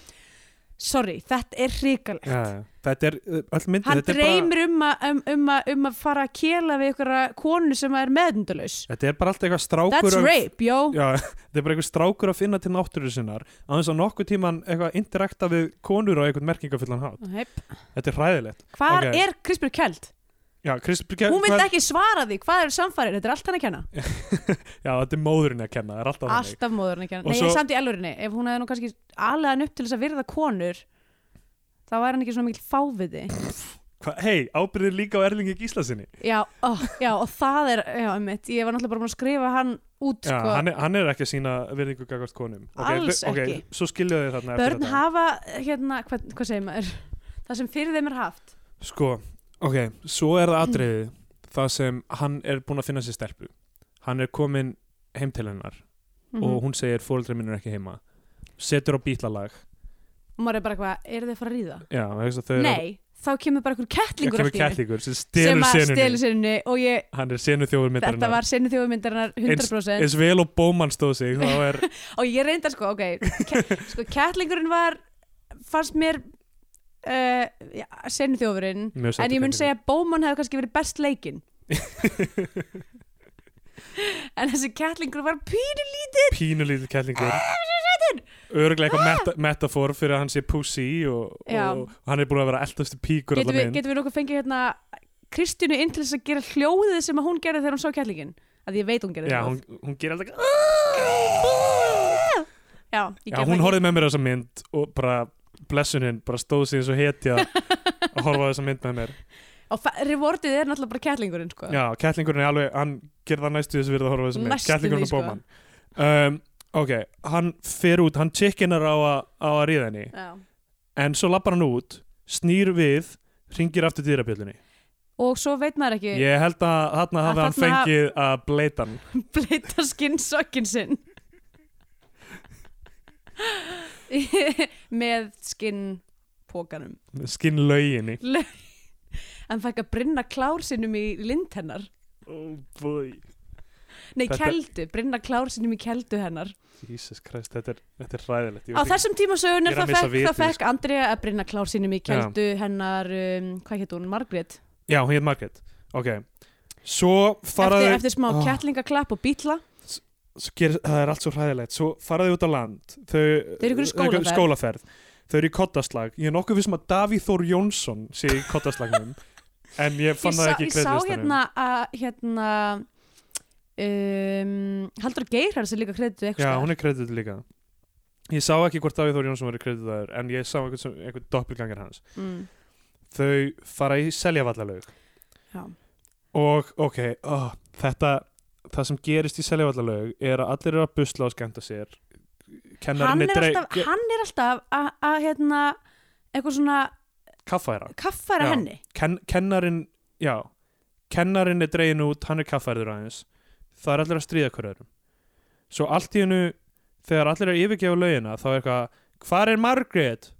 sorry, þetta er hrikalegt
já, já. þetta er uh, öll myndi
hann
þetta er, bara,
dreymir um, að- um, um, að- um að fara að kela við ykkur konu sem er meðundalaus
þetta er bara allt eitthvað strákur
that's
að-
rape, jó
já, þetta er bara eitthvað strákur að finna til náttúru sinnar á þess að nokkuð tíman eitthvað interakta við konur á eitthvað merkingafullan hát
Heip.
þetta er hræðilegt
hvar
Ok.
er Krispjör Kjeld?
já, Kristbjörg
hún vildi ekki svara því, hvað er samfærið? þetta er allt hann að kenna
já, þetta er móðurinn að kenna, það er alltaf þannig.
alltaf móðurinn að kenna,
Og
nei
svo-
samt í elurinni ef hún hefði nú kannski alveg hann upp til þess að virða konur þá væri hann ekki svona mikil fáviði
Hva- hei, ábyrðir líka á Erlingi Gíslasinni
já, ó, já, og það er já, mitt, ég var náttúrulega bara búin að skrifa hann út
já,
sko.
hann, er, hann er ekki að sína virðingu gagvart konum Ok,
Alls
þau- ok,
ekki.
svo skilja þau þarna eftir
börn
þetta.
hafa, hérna, hvað, hvað segir maður það sem fyrir þeim er haft
sko, ok, svo er það atriðið það sem hann er búin að finna sér stelpu hann er komin heim til hennar
mm
og hún segir fóreldri minn er ekki heima setur á bítlalag
og maður er bara eitthvað, eru þið að fara að ríða?
já, vegna þess að þau eru-
nei, þá kemur bara einhver kettlingur
kemur
allt í einu
kettlingur sem
sem
stelur
að
senunni
stelu sinni og ég,
hann er senu þjóðurmyndarinnar
þetta var sinni þjóðmyndarinnar 100%
eins vel og bómann stóð sig þá er,
og ég reyndar sko, ok ke- sko, kettlingurinn var fannst mér uh, já, senu þjófurinn
Mjög sætur
en ég mun
kettlingur.
segja að Bóman hefði kannski verið best leikinn en þessi kettlingur var pínu lítið
pínulítið kettlingur öruglega eitthvað meta metafor fyrir að hann sé pussy og,
Já.
og, og hann er búin að vera eldastu píkur
getum
allar
við,
minn
getum við nokkuð fengið hérna Kristjánu inn til þess að gera hljóðið sem að hún gerði þegar hún sá kettlingin að ég veit hún gerði
já,
hljóð.
hún, hún gerir alltaf
já, ég
já,
gerði
hún
það
horfði með mér á þessa mynd og bara blessunin, bara stóð sig eins og hetja að horfa á þessa mynd með mér
ekki. og fa- rewardið er náttúrulega bara kettlingurinn sko.
já, kettlingurinn er alveg, hann gerir það næstu þessu virði að horfa á þessa mynd,
Næstum
kettlingurinn
því,
og
sko.
bóman um, ok, hann fer út hann chickenar á, að- á að ríða henni
Já.
en svo lappar hann út, snýr við ringir aftur dýrabjöldunni
og svo veit maður ekki
ég held að þarna
Að
hafi hann
þarna haf-
fengið að bleita hann
bleita skinnsokkin sinn með skinnpókanum
skinn lauginni
en fæk að brinna klár sinnum í lind hennar
oh
nei,
Þetta-
keldu, brinna klár sinnum í keldu hennar
Jesus Christ, þetta er, þetta er ræðilegt Ég
á
veit ekki-
þessum tíma sögunar
Ég er að
þá
missa
fekk, þá
vitið, sko.
fekk Andrea að brinna klár sinnum í keldu hennar um, hvað hétt hún, Margrét
já, hún heit Margaret ok, svo
eftir,
faraði
eftir smá
Oh.
kettlingaklapp og bítla
svo ger, það er allt svo hræðilegt svo faraði út á land þau,
Þau eru í einhverju skólaferð.
skólaferð þau eru í kottaslag, ég er nokkuð við sem að Davíð Þór Jónsson sé í kottaslagnum en ég
ég
fann
sá,
það ekki í
ég sá
kreðlistanum
hérna að hérna um, Haldur Geirhars er líka kreditu
já, hún er kreditið líka ég sá ekki hvort Davíð Þór Jónsson var kreditaður en ég sá einhvern, sem- einhvern doppelgangar hans
mm.
þau fara í seljavallalaug
Já.
og ok, oh, þetta það sem gerist í seljavallalaug er að allir eru að busla og skemmta sér
hann
kennarinni
er, alltaf, hann er alltaf að- að hérna eitthvað svona
kaffæra
kaffara
Já.
henni
Ken, kennarin, já kennarin er dregin út, hann er kaffærður aðeins það er allir að stríða hverjum svo allt í hennu þegar allir er að yfirgefa laugina þá er eitthvað, hvar er Margrét?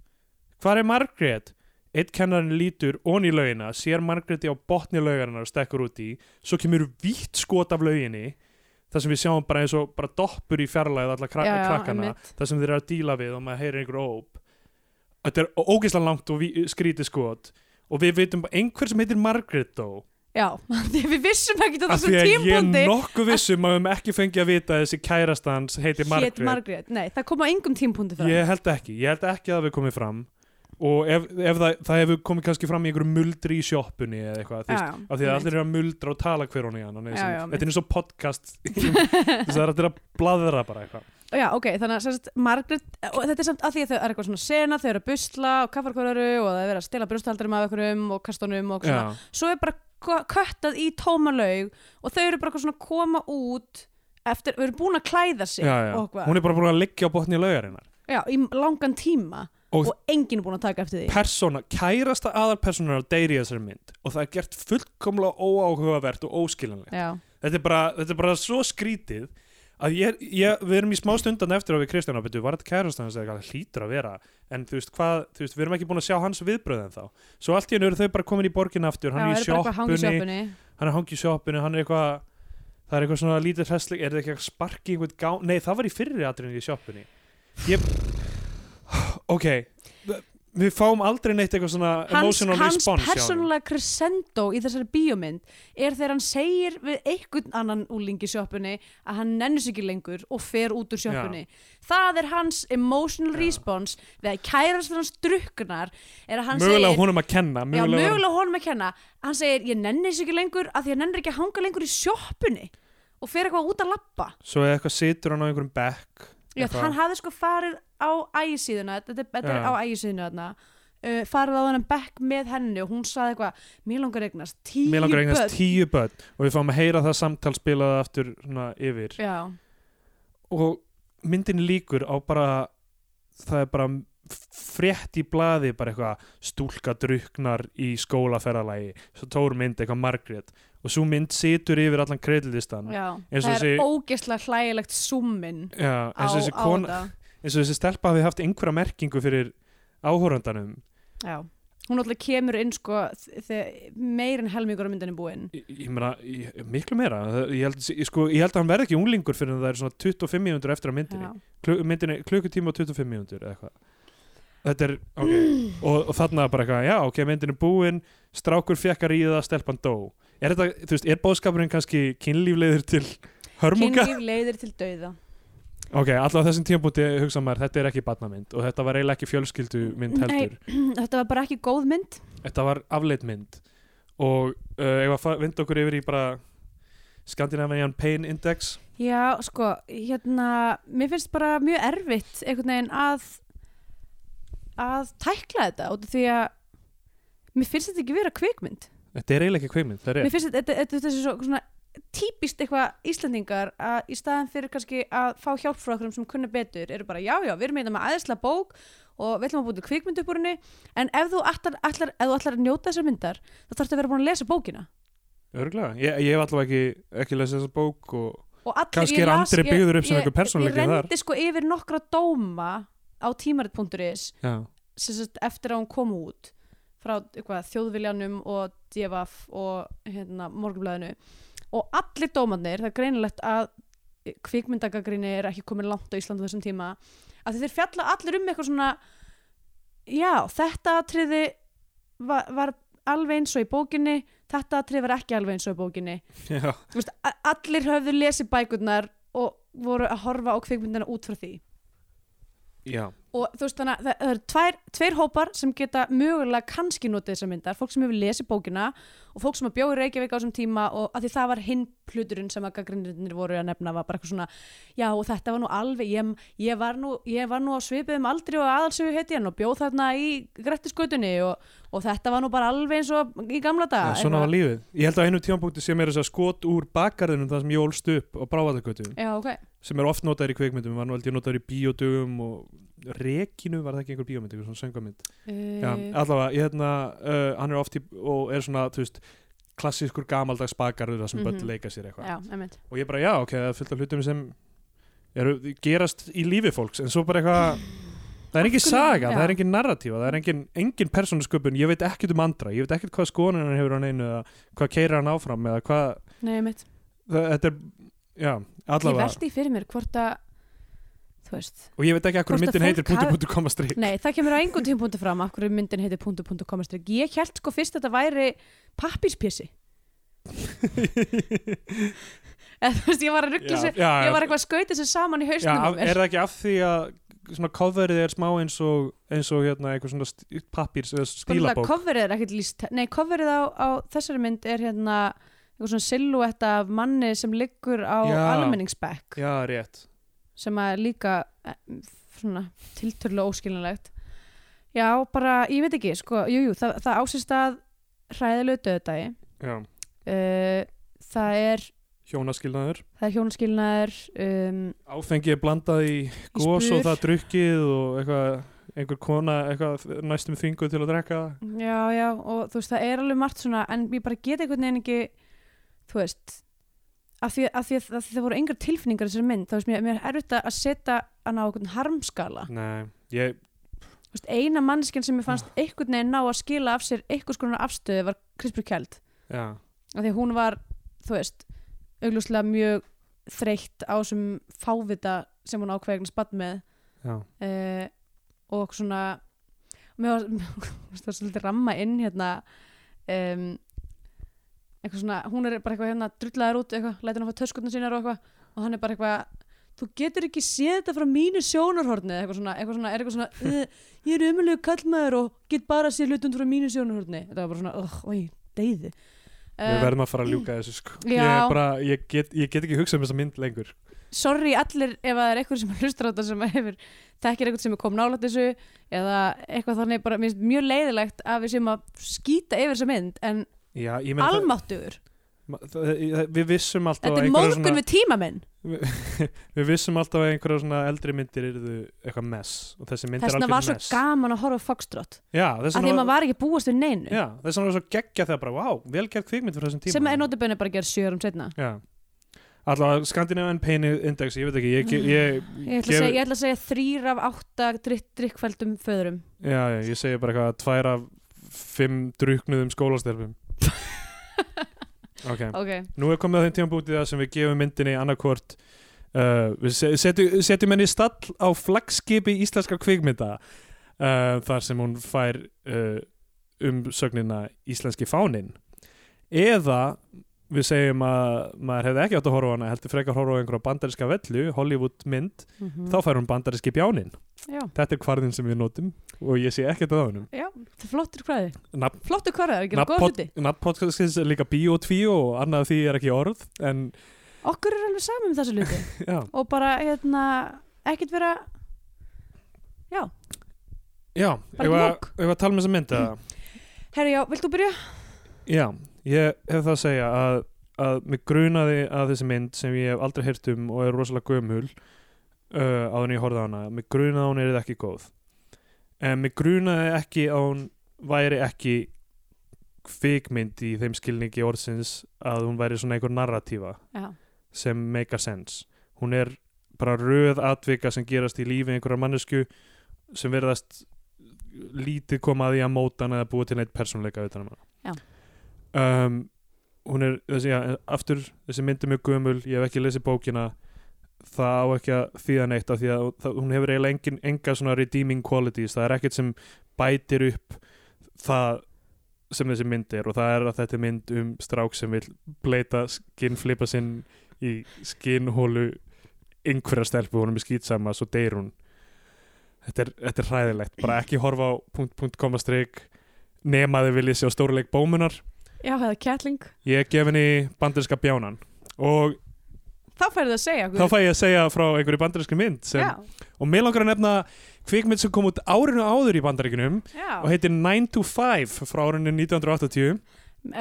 hvar er Margrét? eitt kennarin lítur ón í laugina sér Margréti á botni laugarinnar og stekkur út í svo kemur vítt skot af lauginni þar sem við sjáum bara eins og bara doppur í fjarlæð alla krak
Já, já,
krakkana
einmitt.
þar sem þeir eru að díla við og maður heyrir einhver óp þetta er ógeðslega langt og ví- skrítið skot og við veitum bara einhver sem heitir Margrét þó
já, því að við vissum ekki á
af
þessum
því að ég er
tímpúndi
nokkuð vissum að við höfum ekki fengið að vita að þessi kærasta hans heitir
hét
Margrét
Margrét, nei það kom á engum tímpúndi það
ég held ekki, ég held ekki að það við komið fram og ef, ef það, það hefur komið kannski fram í einhverju muldri í sjoppunni eða eitthvað, þú veist, af því að allir eru að muldra og tala hver hún í hann
Já, já,
þetta er eins og podcast þess að það er að bladra bara eitthvað
já, ok, þannig að sem sagt, Margrét og þetta er samt að því að þau er eitthvað svona sena þau eru að busla og kaffarkvararu og það er verið að stela brjósthaldarum af einhverjum og kastunum og svona
Já.
svo er bara kö- köttað í tóma laug og þau eru bara eitthvað svona að koma út eftir, við erum búin að klæða sig
já, já.
og hvað,
hún er bara búin að liggja á botni laugarinnar
já, í langan tíma
Og-
og, enginn er búin að taka eftir því
persóna, kærasta aðalpersonar deyri í þessari mynd og það er gert fullkomlega óáhugavert og óskiljanlegt
Já,
þetta er, bara, þetta er bara svo skrítið að ég, ég, við erum í smá stundan eftir og við Kristján ábyrtu, var þetta kærast hans eða eitthvað, hlýtur að vera, en þú veist hvað þú veist, við erum ekki búin að sjá hans viðbröð en þá svo allt í hennu eru þau bara komin í borgin aftur hann
Já,
er í
er bara eitthvað að hanga í
sjoppunni,
sjoppunni.
hann er hangi í sjoppunni hann er eitthvað, það er eitthvað svona lítið hressleg, er það ekki eitthvað sparki í einhvern gán nei, það var í fyrri atriðinu í sjoppunni ég, ok við fáum aldrei neitt eitthvað svona
hans,
emotional
hans
response hjá honum.
persónulega crescendo í þessari bíómynd er þegar hann segir við einhvern annan úling í sjoppunni að hann nennur sig ekki lengur og fer út úr sjoppunni það er hans emotional
Já.
response við að kærast fyrir hans drukkunar er að hann
mögulega
segir
honum að kenna
Já,
mögulega, var-
mögulega honum að kenna hann segir, ég nenni sig ekki lengur að því hann nennir ekki að hanga lengur í sjoppunni og fer eitthvað út að lappa
svo eða eitthvað situr hann á einhverjum bekk
Já,
eitthvað.
hann hafði sko farið á ægisíðuna, þetta, er- þetta er
Já.
á ægisíðuna þarna, uh, farið á hennan bekk með henni og hún saði eitthvað, mér langar eignast tíu
Mér langar að eignast
börn."
tíu börn og við fáum að heyra það samtal spilaða aftur svona, yfir
Já,
og myndin líkur á bara það er bara frétt í blaði bara eitthvað stúlka druknar í skólaferðalagi svo tór mynd eitthvað Margrét og svo mynd situr yfir allan kreditlistan
já,
Eins og
það er
þessi-
ógeðslega hlægilegt summin
Já,
á, á
eins, og þessi kon,
þetta.
eins og þessi stelpa hafi haft einhverja merkingu fyrir áhórandanum
Já, hún alltaf kemur inn sko þ- þegar meir en helmingur á myndinni búinn.
Ég, ég meina, ég, miklu meira Það- ég held, ég, sko, ég held að hann verði ekki unglingur fyrir það er svona 25 mínútur eftir að myndinni
Já.
Klu- myndinni klukkutíma og 25 mínútur eða eitthvað þetta er, ok
Mm.
og, og þarna bara eitthvað, já ok, myndin er búin strákur fekk að ríða, stelpan dó er þetta, þú veist, er bóðskapurinn kannski kynlífleiðir til hörmunga
Kynlíf leiðir til dauða.
ok, allavega á þessum tímpúti hugsa maður, þetta er ekki badnamynd og þetta var eiginlega ekki fjölskyldumynd
Nei,
heldur
þetta var bara ekki góð mynd.
þetta var afleitmynd og uh, ef að fa- vinda okkur yfir í bara Scandinavian Pain Index
Já, sko, hérna, mér finnst bara mjög erfitt einhvern veginn að að tækla þetta út af því að mér finnst þetta ekki vera kvikmynd.
þetta er eiginlega ekki kveimynd, það er
Mér finnst þetta, þetta, þetta er svo, svona típist eitthvað Íslandingar að í staðan fyrir kannski að fá hjálp frá okkur sem kunna betur eru bara já, já, við erum eitthvað með aðeinsla bók og við ætlum að búið til kvikmynd upp úr henni en ef þú ætlar, ætlar, ef þú ætlar að njóta þessar myndar þá þarfst að vera búin að lesa bókina
örgulega, ég, ég hef allavega ekki, ekki lesið þessa bók og
og allir,
Kannski
ég
er
las-
Andri
ég-
byggður upp sem
ég-
einhver persónuleiki
ég
þar.
rendi sko yfir nokkra dóma á tímarit.is
já,
sem sagt, eftir að hún kom út frá eitthvað, þjóðviljanum og DFF og hérna, morgunblæðinu og allir dómanir, það er greinilegt að kvikmyndagagrýni er ekki komin langt á Íslandu þessum tíma að þeir fjalla allir um eitthvað svona já, þetta atriði var, var alveg eins og í bókinni þetta atriði var ekki alveg eins og í bókinni
já
Þú veist, a- allir höfðu lesið bækurnar og voru að horfa á kvikmyndina út frá því
Já,
og þú veist þannig að það það eru tvær, tveir hópar sem geta mögulega kannski notið þessar myndar fólk sem hefur lesið bókina og fólk sem að bjóði Reykjavík á þessum tíma og að því það var hinn hluturinn sem að gaggrindirnir voru að nefna var bara eitthvað svona, já og þetta var nú alveg ég, ég, var, nú, ég var nú á svipuðum aldri og aðalsögu heiti hann og bjóð þarna í grættiskutunni og, og þetta var nú bara alveg eins og í gamla dag
já svona var lífið Ég held að á einu tímanbúti sem er þess að skot úr bakgarðinum það sem ég ólst upp og bráðagötu
já, okay.
sem er oft notaður í kveikmyndum var nú held ég notaður í bíódugum og rekinu var það ekki einhver bíómynd, einhver svona söngamynd Já,
uh,
allavega, ég hérna uh, hann er oft í, og er svona, þú veist klassískur gamaldags bakgarður það sem
Mhm.
börn leika sér eitthvað
já, einmitt
og ég bara, já, ok, það er fullt af hlutum sem eru, gerast í lífi fólks en svo bara eitthvað það er engin
Af hverju-
saga, það er
já.
engin narratífa það er engin, engin persónusköpun, ég veit ekkert um andra ég veit ekkert hvað skoðanir hann hefur á neinu eða hvað keirir hann áfram eða hvað
Nei, einmitt.
það, þetta er, já,
ég
allavega
veldi fyrir mér hvort að þú veist
og ég veit ekki akkur
Hvort að
myndin heitir
fólk
punktu
hafi-
punktu koma strik
Nei, það kemur á engum tímpunkti fram af hverju myndin heitir punktu, punktu, komastrik Ég held sko fyrst að þetta væri pappírspjessi Eða þú veist, ég var að ruggla
já,
sér
já,
Ég var eitthvað að skauta sér saman í
já,
hausnum á
af-
mér.
er það ekki af því að svona coverið er smá eins og eins og hérna einhver svona pappir
Sko, náttúrulega,
stílabók
Coverið er ekkert líst Nei, coverið á, á þessari mynd er hérna eitthvað svona silhouette af manni sem liggur á
Já.
almenningsbekk
já, rétt
sem að er líka eh, svona tiltölu óskilinlegt Já, bara, ég veit ekki, sko, jú, jú, það, það ásist að hræðilegu döðdagi
já.
uh, það er
hjónaskilnaður
það er hjónaskilnaður um,
áfengi er blandað í
Í
gos og
spur.
það drukkið og eitthvað, einhver kona eitthvað næstum þvinguð til að drekka það.
já, já, og þú veist, það er alveg margt svona, en ég bara get einhvern veginn ekki þú veist af því, af því, að- af því það voru engar tilfinningar í þessari mynd, þá veist mér, mér er erfitt að setja hann á einhvern harmskala
Nei, ég,
Þú veist, eina manneskjan sem mér
Ah.
fannst einhvern veginn ná að skila af sér einhvers konar afstöðu var Krispur Kjeld
já,
af því að hún var, þú veist augljóslega mjög þreytt á þessum fávita sem hún ákveðin spatt með
já
uh, og svona mér var, mér var það svolítið ramma inn hérna um, eitthvað svona, hún er bara eitthvað hérna drullaðar út eitthvað, lætur hann að fá töskutna sínar og eitthvað og hann er bara eitthvað þú getur ekki séð þetta frá mínu sjónarhorni eða eitthvað svona, eitthvað svona, er eitthvað svona uh, ég er umjulegu kallmaður og get bara séð hlutund frá mínu sjónarhorni þetta var bara svona, oh, oi, deyði
Við
uh,
verðum að fara að ljúka þessu sko.
Já.
ég, er bara, ég, get, ég get ekki hugsað um þessa mynd lengur
sorry allir ef það er eitthvað sem hlustar á þetta sem hefur þekkir eitthvað sem er kom nálætt þessu eða eitthvað þannig bara, mér finnst mjög leiðilegt að við séum að skýta yfir þessa mynd en
Já, ég meina það-
almáttugur,
ma- það, það, Við vissum alltaf að
þetta er
einhverjar
móðgun við tímamenn
svona, Við vissum alltaf að einhverja svona eldri myndir eru eitthvað mess og þessi mynd er
þess vegna
algjör
var svo
mess
gaman að horfa á Foxtrot
Já, þess
af því að
vegna
maður
var,
var ekki að búast við neinu
já, þess vegna var svo geggja þegar bara, vá, vel gert kvikmynd fyrir þessum tíma
sem er notabene bara að gera sjörum setna
Já Allá, Scandinavian Pain Index, ég veit ekki Ég, ég, ég,
Mm. ég ætla,
gef-
að segja, ég ætla að segja þrýr af átta drikk, drikkfældum föðurum
já, já, ég segi bara eitthvað tvær af fimm druknuðum skólastelpum Ok
ok,
Nú er komið að þeim tíma bútið það sem við gefum myndinni annarkvort uh, við se- setjum, setjum henni í stall á flaggskipi íslenska kvikmynda uh, þar sem hún fær uh, umsögnina íslenski fáninn eða við segjum að maður hefði ekki átt að horfa á hana heldur frekar horfa á einhverja bandaríska vellu Hollywood mynd,
Mm.
þá fær hún bandaríski bjáninn
já,
þetta er kvarðin sem við notum og ég sé ekkert að honum
já, það er flottur hvaði
Nafn-
flottur hvaði, það er að gera góða hluti
Nafn podcastins er líka bíó og tvíó og annað af því er ekki orð en
okkur er alveg saman um þessu hluti
já
og bara hérna ekkert vera
Já,
Bara
ef
ekki
að-
lók.
ef að tala með þessa mynd mm.
herri já, vilt þú byrja?
Já, ég hef það að segja að, að mig grunaði að þessi mynd sem ég hef aldrei heyrt um og er rosalega gömul uh, áður en ég horfði á hana mig grunaði að hún er ekki góð en mig grunaði ekki að hún væri ekki kvikmynd í þeim skilningi orðsins að hún væri svona einhver narratífa
já,
sem make a sense hún er bara röð atvika sem gerast í lífi einhverjar mannesku sem verðast lítið koma að því að móta hana eða búa til neitt persónleika utan um hana um, hún er þessi, já, en aftur þessi myndi mjög gömul, ég hef ekki lesið bókina það á ekki að þýða neitt af því að það, hún hefur eiginlega engin, enga svona redeeming qualities, það er ekkert sem bætir upp það sem þessi mynd er og það er að þetta er mynd um strák sem vil bleita skinnflipa sinn í skinnhólu einhverja stelpu, hún er með skýtsama svo deyr hún þetta er, þetta er hræðilegt, bara ekki horfa á punkt, punkt, koma strik nema þið viljið sjá stórleik bómunar
já, það er kjætling
ég gef henni bandarinska bjánan og
þá færðu það að segja
þá fæ ég að segja frá einhverju bandarinski mynd sem,
já,
og mér langar að nefna kvikmynd sem kom út árinu áður í bandaríkunum
já.
og heitir 9 to 5 frá árinu 1980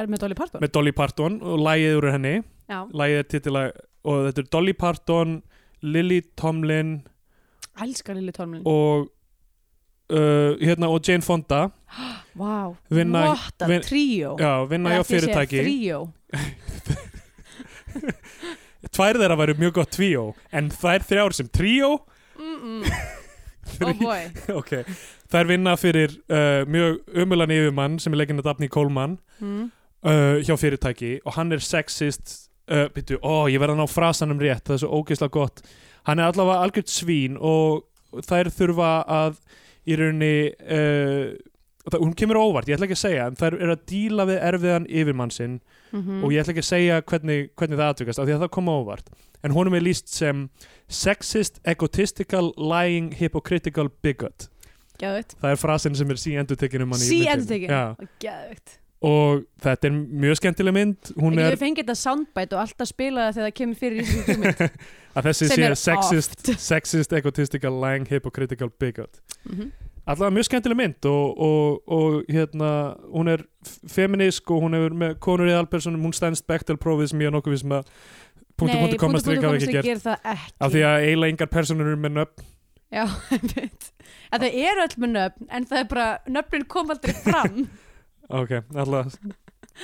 er með Dolly Parton
með Dolly Parton og lægið úr henni
já,
lægið er titilag og þetta er Dolly Parton, Lily Tomlin
elskar Lili Tólmlin
og uh, hérna og Jane Fonda
wow,
Vinna-
what a
vin-
trio
já, vinna hjá fyrirtæki
trio
tvær þeirra væru mjög gott tvíó en þær þrjár sem tríó
mm -mm. oh boy
ok, þær vinna fyrir uh, mjög umulan yfirmann sem er leikinn að Daphne Coleman
mm.
uh, hjá fyrirtæki og hann er sexist uh, byrju, ó, ég verða að ná frasanum rétt það er svo ógeðslega gott hann er allavega algjört svín og þær þurfa að í rauninni uh, það, hún kemur á óvart, ég ætla ekki að segja en þær eru að díla við erfiðan yfirmann sinn
Mm
og ég ætla ekki að segja hvernig, hvernig það atvikast af því að það kom á óvart en honum er líst sem sexist, egotistical, lying, hypocritical bigot
Gæðvögt
það er frasin sem er síendur tekin um hann í myndinni.
Síðan tekið
Já.
Gæðvögt
og þetta er mjög skemmtileg mynd hún
Ég
er
fengi þetta soundbite og alltaf spila það þegar það kemur fyrir í þessum kjúmynd
að þessi
sem
sé
er
sexist, sexist, egotistical, lying, hypocritical bigot
Mhm.
allavega mjög skemmtileg mynd og, og, og hérna, hún er f- feminisk og hún hefur með konur í Albersonum, hún stendst Bechtel-prófið sem ég er nokkuð við sem að punktu punktu komast við ekki gert
Ger það ekki
af því að eiginlega engar personur eru með nöfn
Já, einmitt. að Það eru öll með nöfn En það er bara Nöfnin kom aldrei fram
ok, alltaf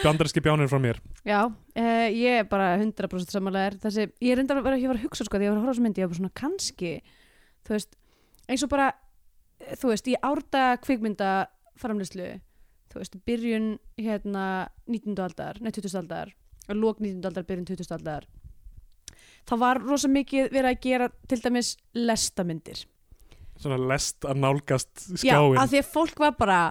bandarinski bjánir frá mér
Já, uh, ég er bara 100% samanlegar þessi, ég reyndar að vera, ég var að hugsa sko því ég var að horfa á þessu myndi, ég var bara svona kannski þú veist, eins og bara eh, þú veist, í árda kvikmynda framlýslu, þú veist byrjun hérna 19. aldar nei 20. aldar, lók 19. aldar byrjun 20. aldar þá var rosa mikið verið að gera til dæmis lestamyndir
svona lest að nálgast
Já,
skjáin
af því að fólk var bara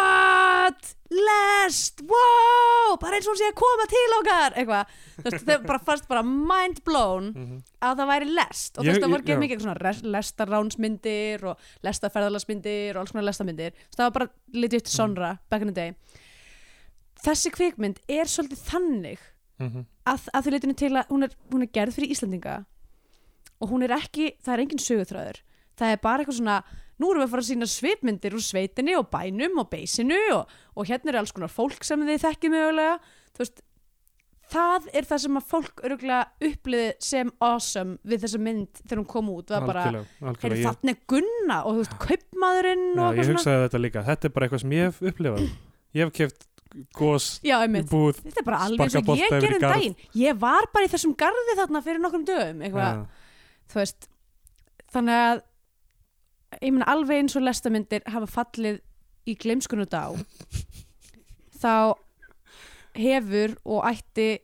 What? Lest? Wow! Bara eins og hún sé að koma til okkar eitthvað, þú veist, þau bara fannst bara mind blown
Mhm.
að það væri lest og þú
Ég-
veist, það voru
ég-
ekki
já.
mikið svona res- lestaránsmyndir og lestaferðalagsmyndir og alls konar lestamyndir, Þú veist, það var bara legit
Mhm.
sonra back in the day Þessi kvikmynd er svolítið þannig
Mhm.
að, að því leitinu til að hún er, hún er gerð fyrir Íslandinga og hún er ekki, það er engin söguþræður það er bara eitthvað svona nú erum við að fara að sína svipmyndir úr sveitinni og bænum og beisinu og, og hérna er alls konar fólk sem þið þekkið mögulega þú veist, það er það sem að fólk öruglega uppliði sem awesome við þessa mynd þegar hún kom út það var bara,
algjörlega,
heyrðu
algjörlega.
þarna er Gunna og þú veist,
Ég,
kaupmaðurinn
já,
og
ég
eitthvað svona
hugsaði þetta líka, þetta er bara eitthvað sem ég hef upplifað ég hef keft gos
já, einmitt,
búð
þetta er bara alveg eins
Sparka
og ég
bolta yfir í
gerði um
garð.
daginn ég var bara í þessum garði þarna fyrir nokkrum dögum eitthvað,
Já.
þú veist þannig að ég meina alveg eins og lestamyndir hafa fallið í gleimskunu dá þá hefur og ætti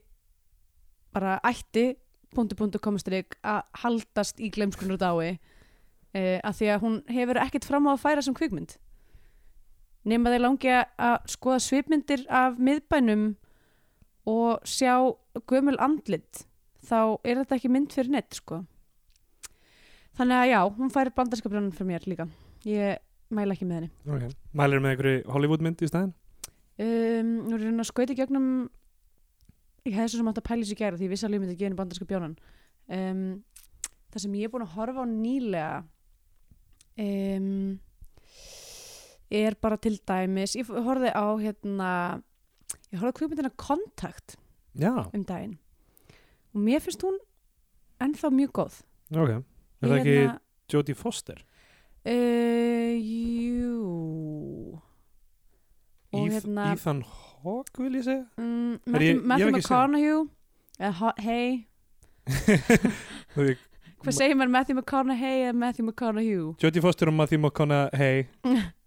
bara ætti punktu punktu komastrik að haldast í gleimskunu dái uh, að því að hún hefur ekkert fram á að færa sem kvikmynd nema þeir langi að- að skoða svipmyndir af miðbænum og sjá gömul andlit þá er þetta ekki mynd fyrir neitt sko Þannig að já, hún fær bandarskaprann fyrir mér líka. Ég mæla ekki með henni.
okay. mælir með einhverju Hollywoodmynd í staðin
Um, nú er ég að reyna að skauta í gegnum ég hefði svo sem átt að pæla þessu í gæra því ég vissi alveg að ég myndi að gefa henni bandarskapjónan. Um, það sem ég er búin að horfa á nýlega um, er bara til dæmis ég horfði á hérna ég horfði á kvikmyndina Kontakt
já,
um daginn og mér finnst hún ennþá mjög góð.
ok er
Ég
það ekki
hérna-
Jodie Foster
Uh, jú Og
Eth-
hérna-
Ethan Hawke vil ég segja
mm,
Er ég- ég hef
Matthew, Matthew
ekki séð hann.
McConaughey eða Ho- hey
Þú veit, Ma-
hvað segir maður Matthew McConaughey eða Matthew McConaughey
Jodie Foster og Matthew McConaughey
hey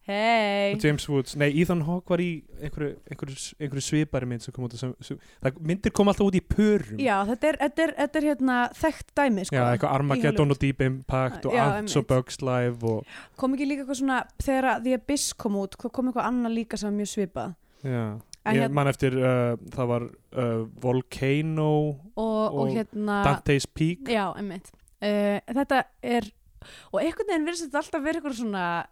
og James Woods, nei Ethan Hawke var í einhverju, einhverju, einhverju svipari mynd sem kom út sem, sem, það, myndir kom alltaf út í pörum
já þetta er, þetta er, þetta er hérna þekkt dæmi sko.
Já, eitthvað Armageddon og Deep Impact og
Já,
Ants og
einmitt.
Bugs Live og,
kom ekki líka eitthvað svona þegar að The Abyss kom út kom eitthvað annað líka sem var mjög svipað
já,
En
ég
hérna-
man eftir uh, það var uh, Volcano
og, og,
Og
hérna
Dante's Peak
já einmitt uh, þetta er og einhvern veginn virðist þetta alltaf verið eitthvað svona uh,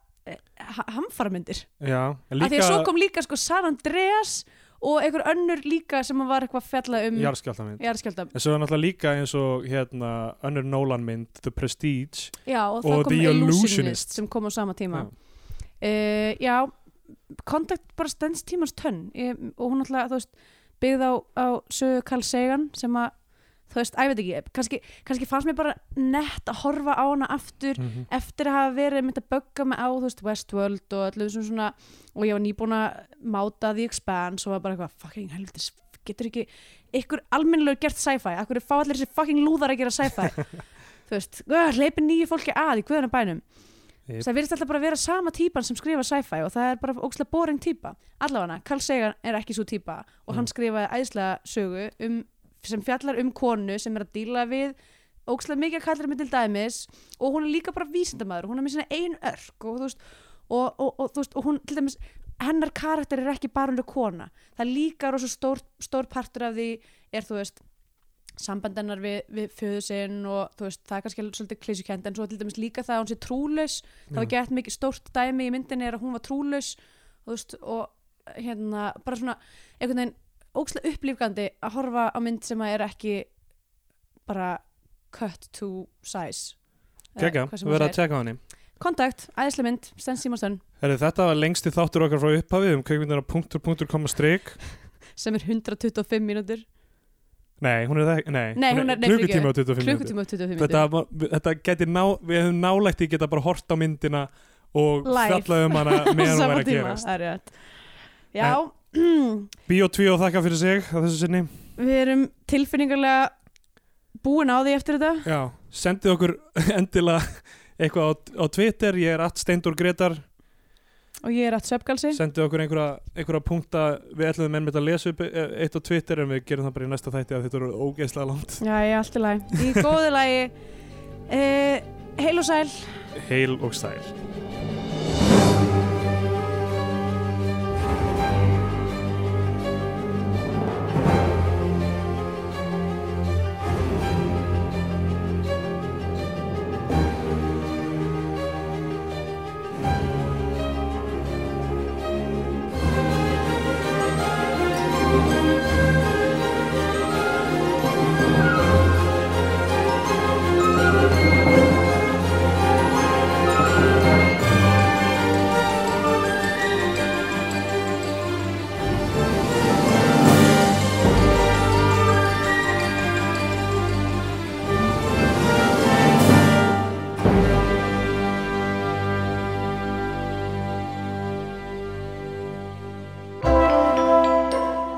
hamfaramyndir
Já, en
Líka... Því að svo
líka
kom líka sko San Andreas og einhver önnur líka sem var eitthvað fjallað um
Jarskjáltamynd
jarðskjálta.
En svo er náttúrulega líka eins og hérna önnur Nolan mynd, The Prestige
Já, og það
Og
kom
The Illusionist.
Illusionist sem kom á sama tíma. Uh, já, kontakt bara stendst tímans tönn ég, og hún alltaf, þú veist, byggð á, á sögu Carl Sagan sem að, þú veist, æ, ég veit ekki, kannski, kannski fannst mér bara nett að horfa á hana aftur
mm -hmm.
eftir að hafa verið mynd að bögga mig á þú veist, Westworld og allir þessum svona og ég var nýbúin að máta The Expanse og var bara eitthvað, fucking helvitis getur ekki, ykkur almennilegur gert sci-fi akkur fá allir þessi fucking lúðar að gera sci-fi þú veist, uh, hleypi nýju fólki að í guðana bænum
Yep.
það virðist alltaf bara að vera sama típan sem skrifa sci-fi og það er bara ógslag boring típa allavega, Carl Sagan er ekki svo típa og hann
Mm.
skrifaði æðslega sögu um, sem fjallar um konu sem er að díla við ógslag mikið að kallar mig til dæmis og hún er líka bara vísindamaður hún er með sína ein örk og þú veist og, og, og, þú veist, og hún til dæmis hennar karakter er ekki bara hennar kona það er líka rosa stór, stór partur af því er þú veist sambandennar við, við föðu sinn og þú veist, það er kannski svolítið klísukend en svo til dæmis líka það að hún sé trúlaus það var gett mikið stórt dæmi í myndinni er að hún var trúlaus og, veist, og hérna, bara svona einhvern veginn ókslega upplýfgandi að horfa á mynd sem að er ekki bara cut to size Eða
Gekka,
hvað sem
við
maður
verðum að tjekka á henni
segir. Kontakt, æðislega mynd, Sten Simonsson
Herri, þetta var lengsti þáttur okkar frá upphafi um kveikmyndina punktur, punktur, koma, strik
sem er 125 mínútur
Nei, hún er það ekki, nei,
Nei, hún er- nei,
klukkutími og 25 mínútur
klukkutíma og 25 mínútur
þetta, var- við- þetta geti ná, við hefum nálægt í geta bara hort á myndina og
Live.
fjallað um hana
Á
meðan hún
sama
væri að
tíma,
gerast
það er rétt. Já,
Bíó 2 og þakka fyrir sig á þessu sinni
Við erum tilfinningarlega búin á því eftir þetta
Já, sendið okkur endilega eitthvað á, á Twitter, ég er at Steindur Gretar
og ég er að söpgalsi
sendið okkur einhverja, einhverja punkta við ætlum enn mitt að lesa upp e- eitt á Twitter en við gerum það bara í næsta þætti að þetta eru ógeðslega langt
Já, ég er allt í lagi. Í góðu lagi. Uh, heil og sæl.
Heil og sæl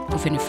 Þú finnir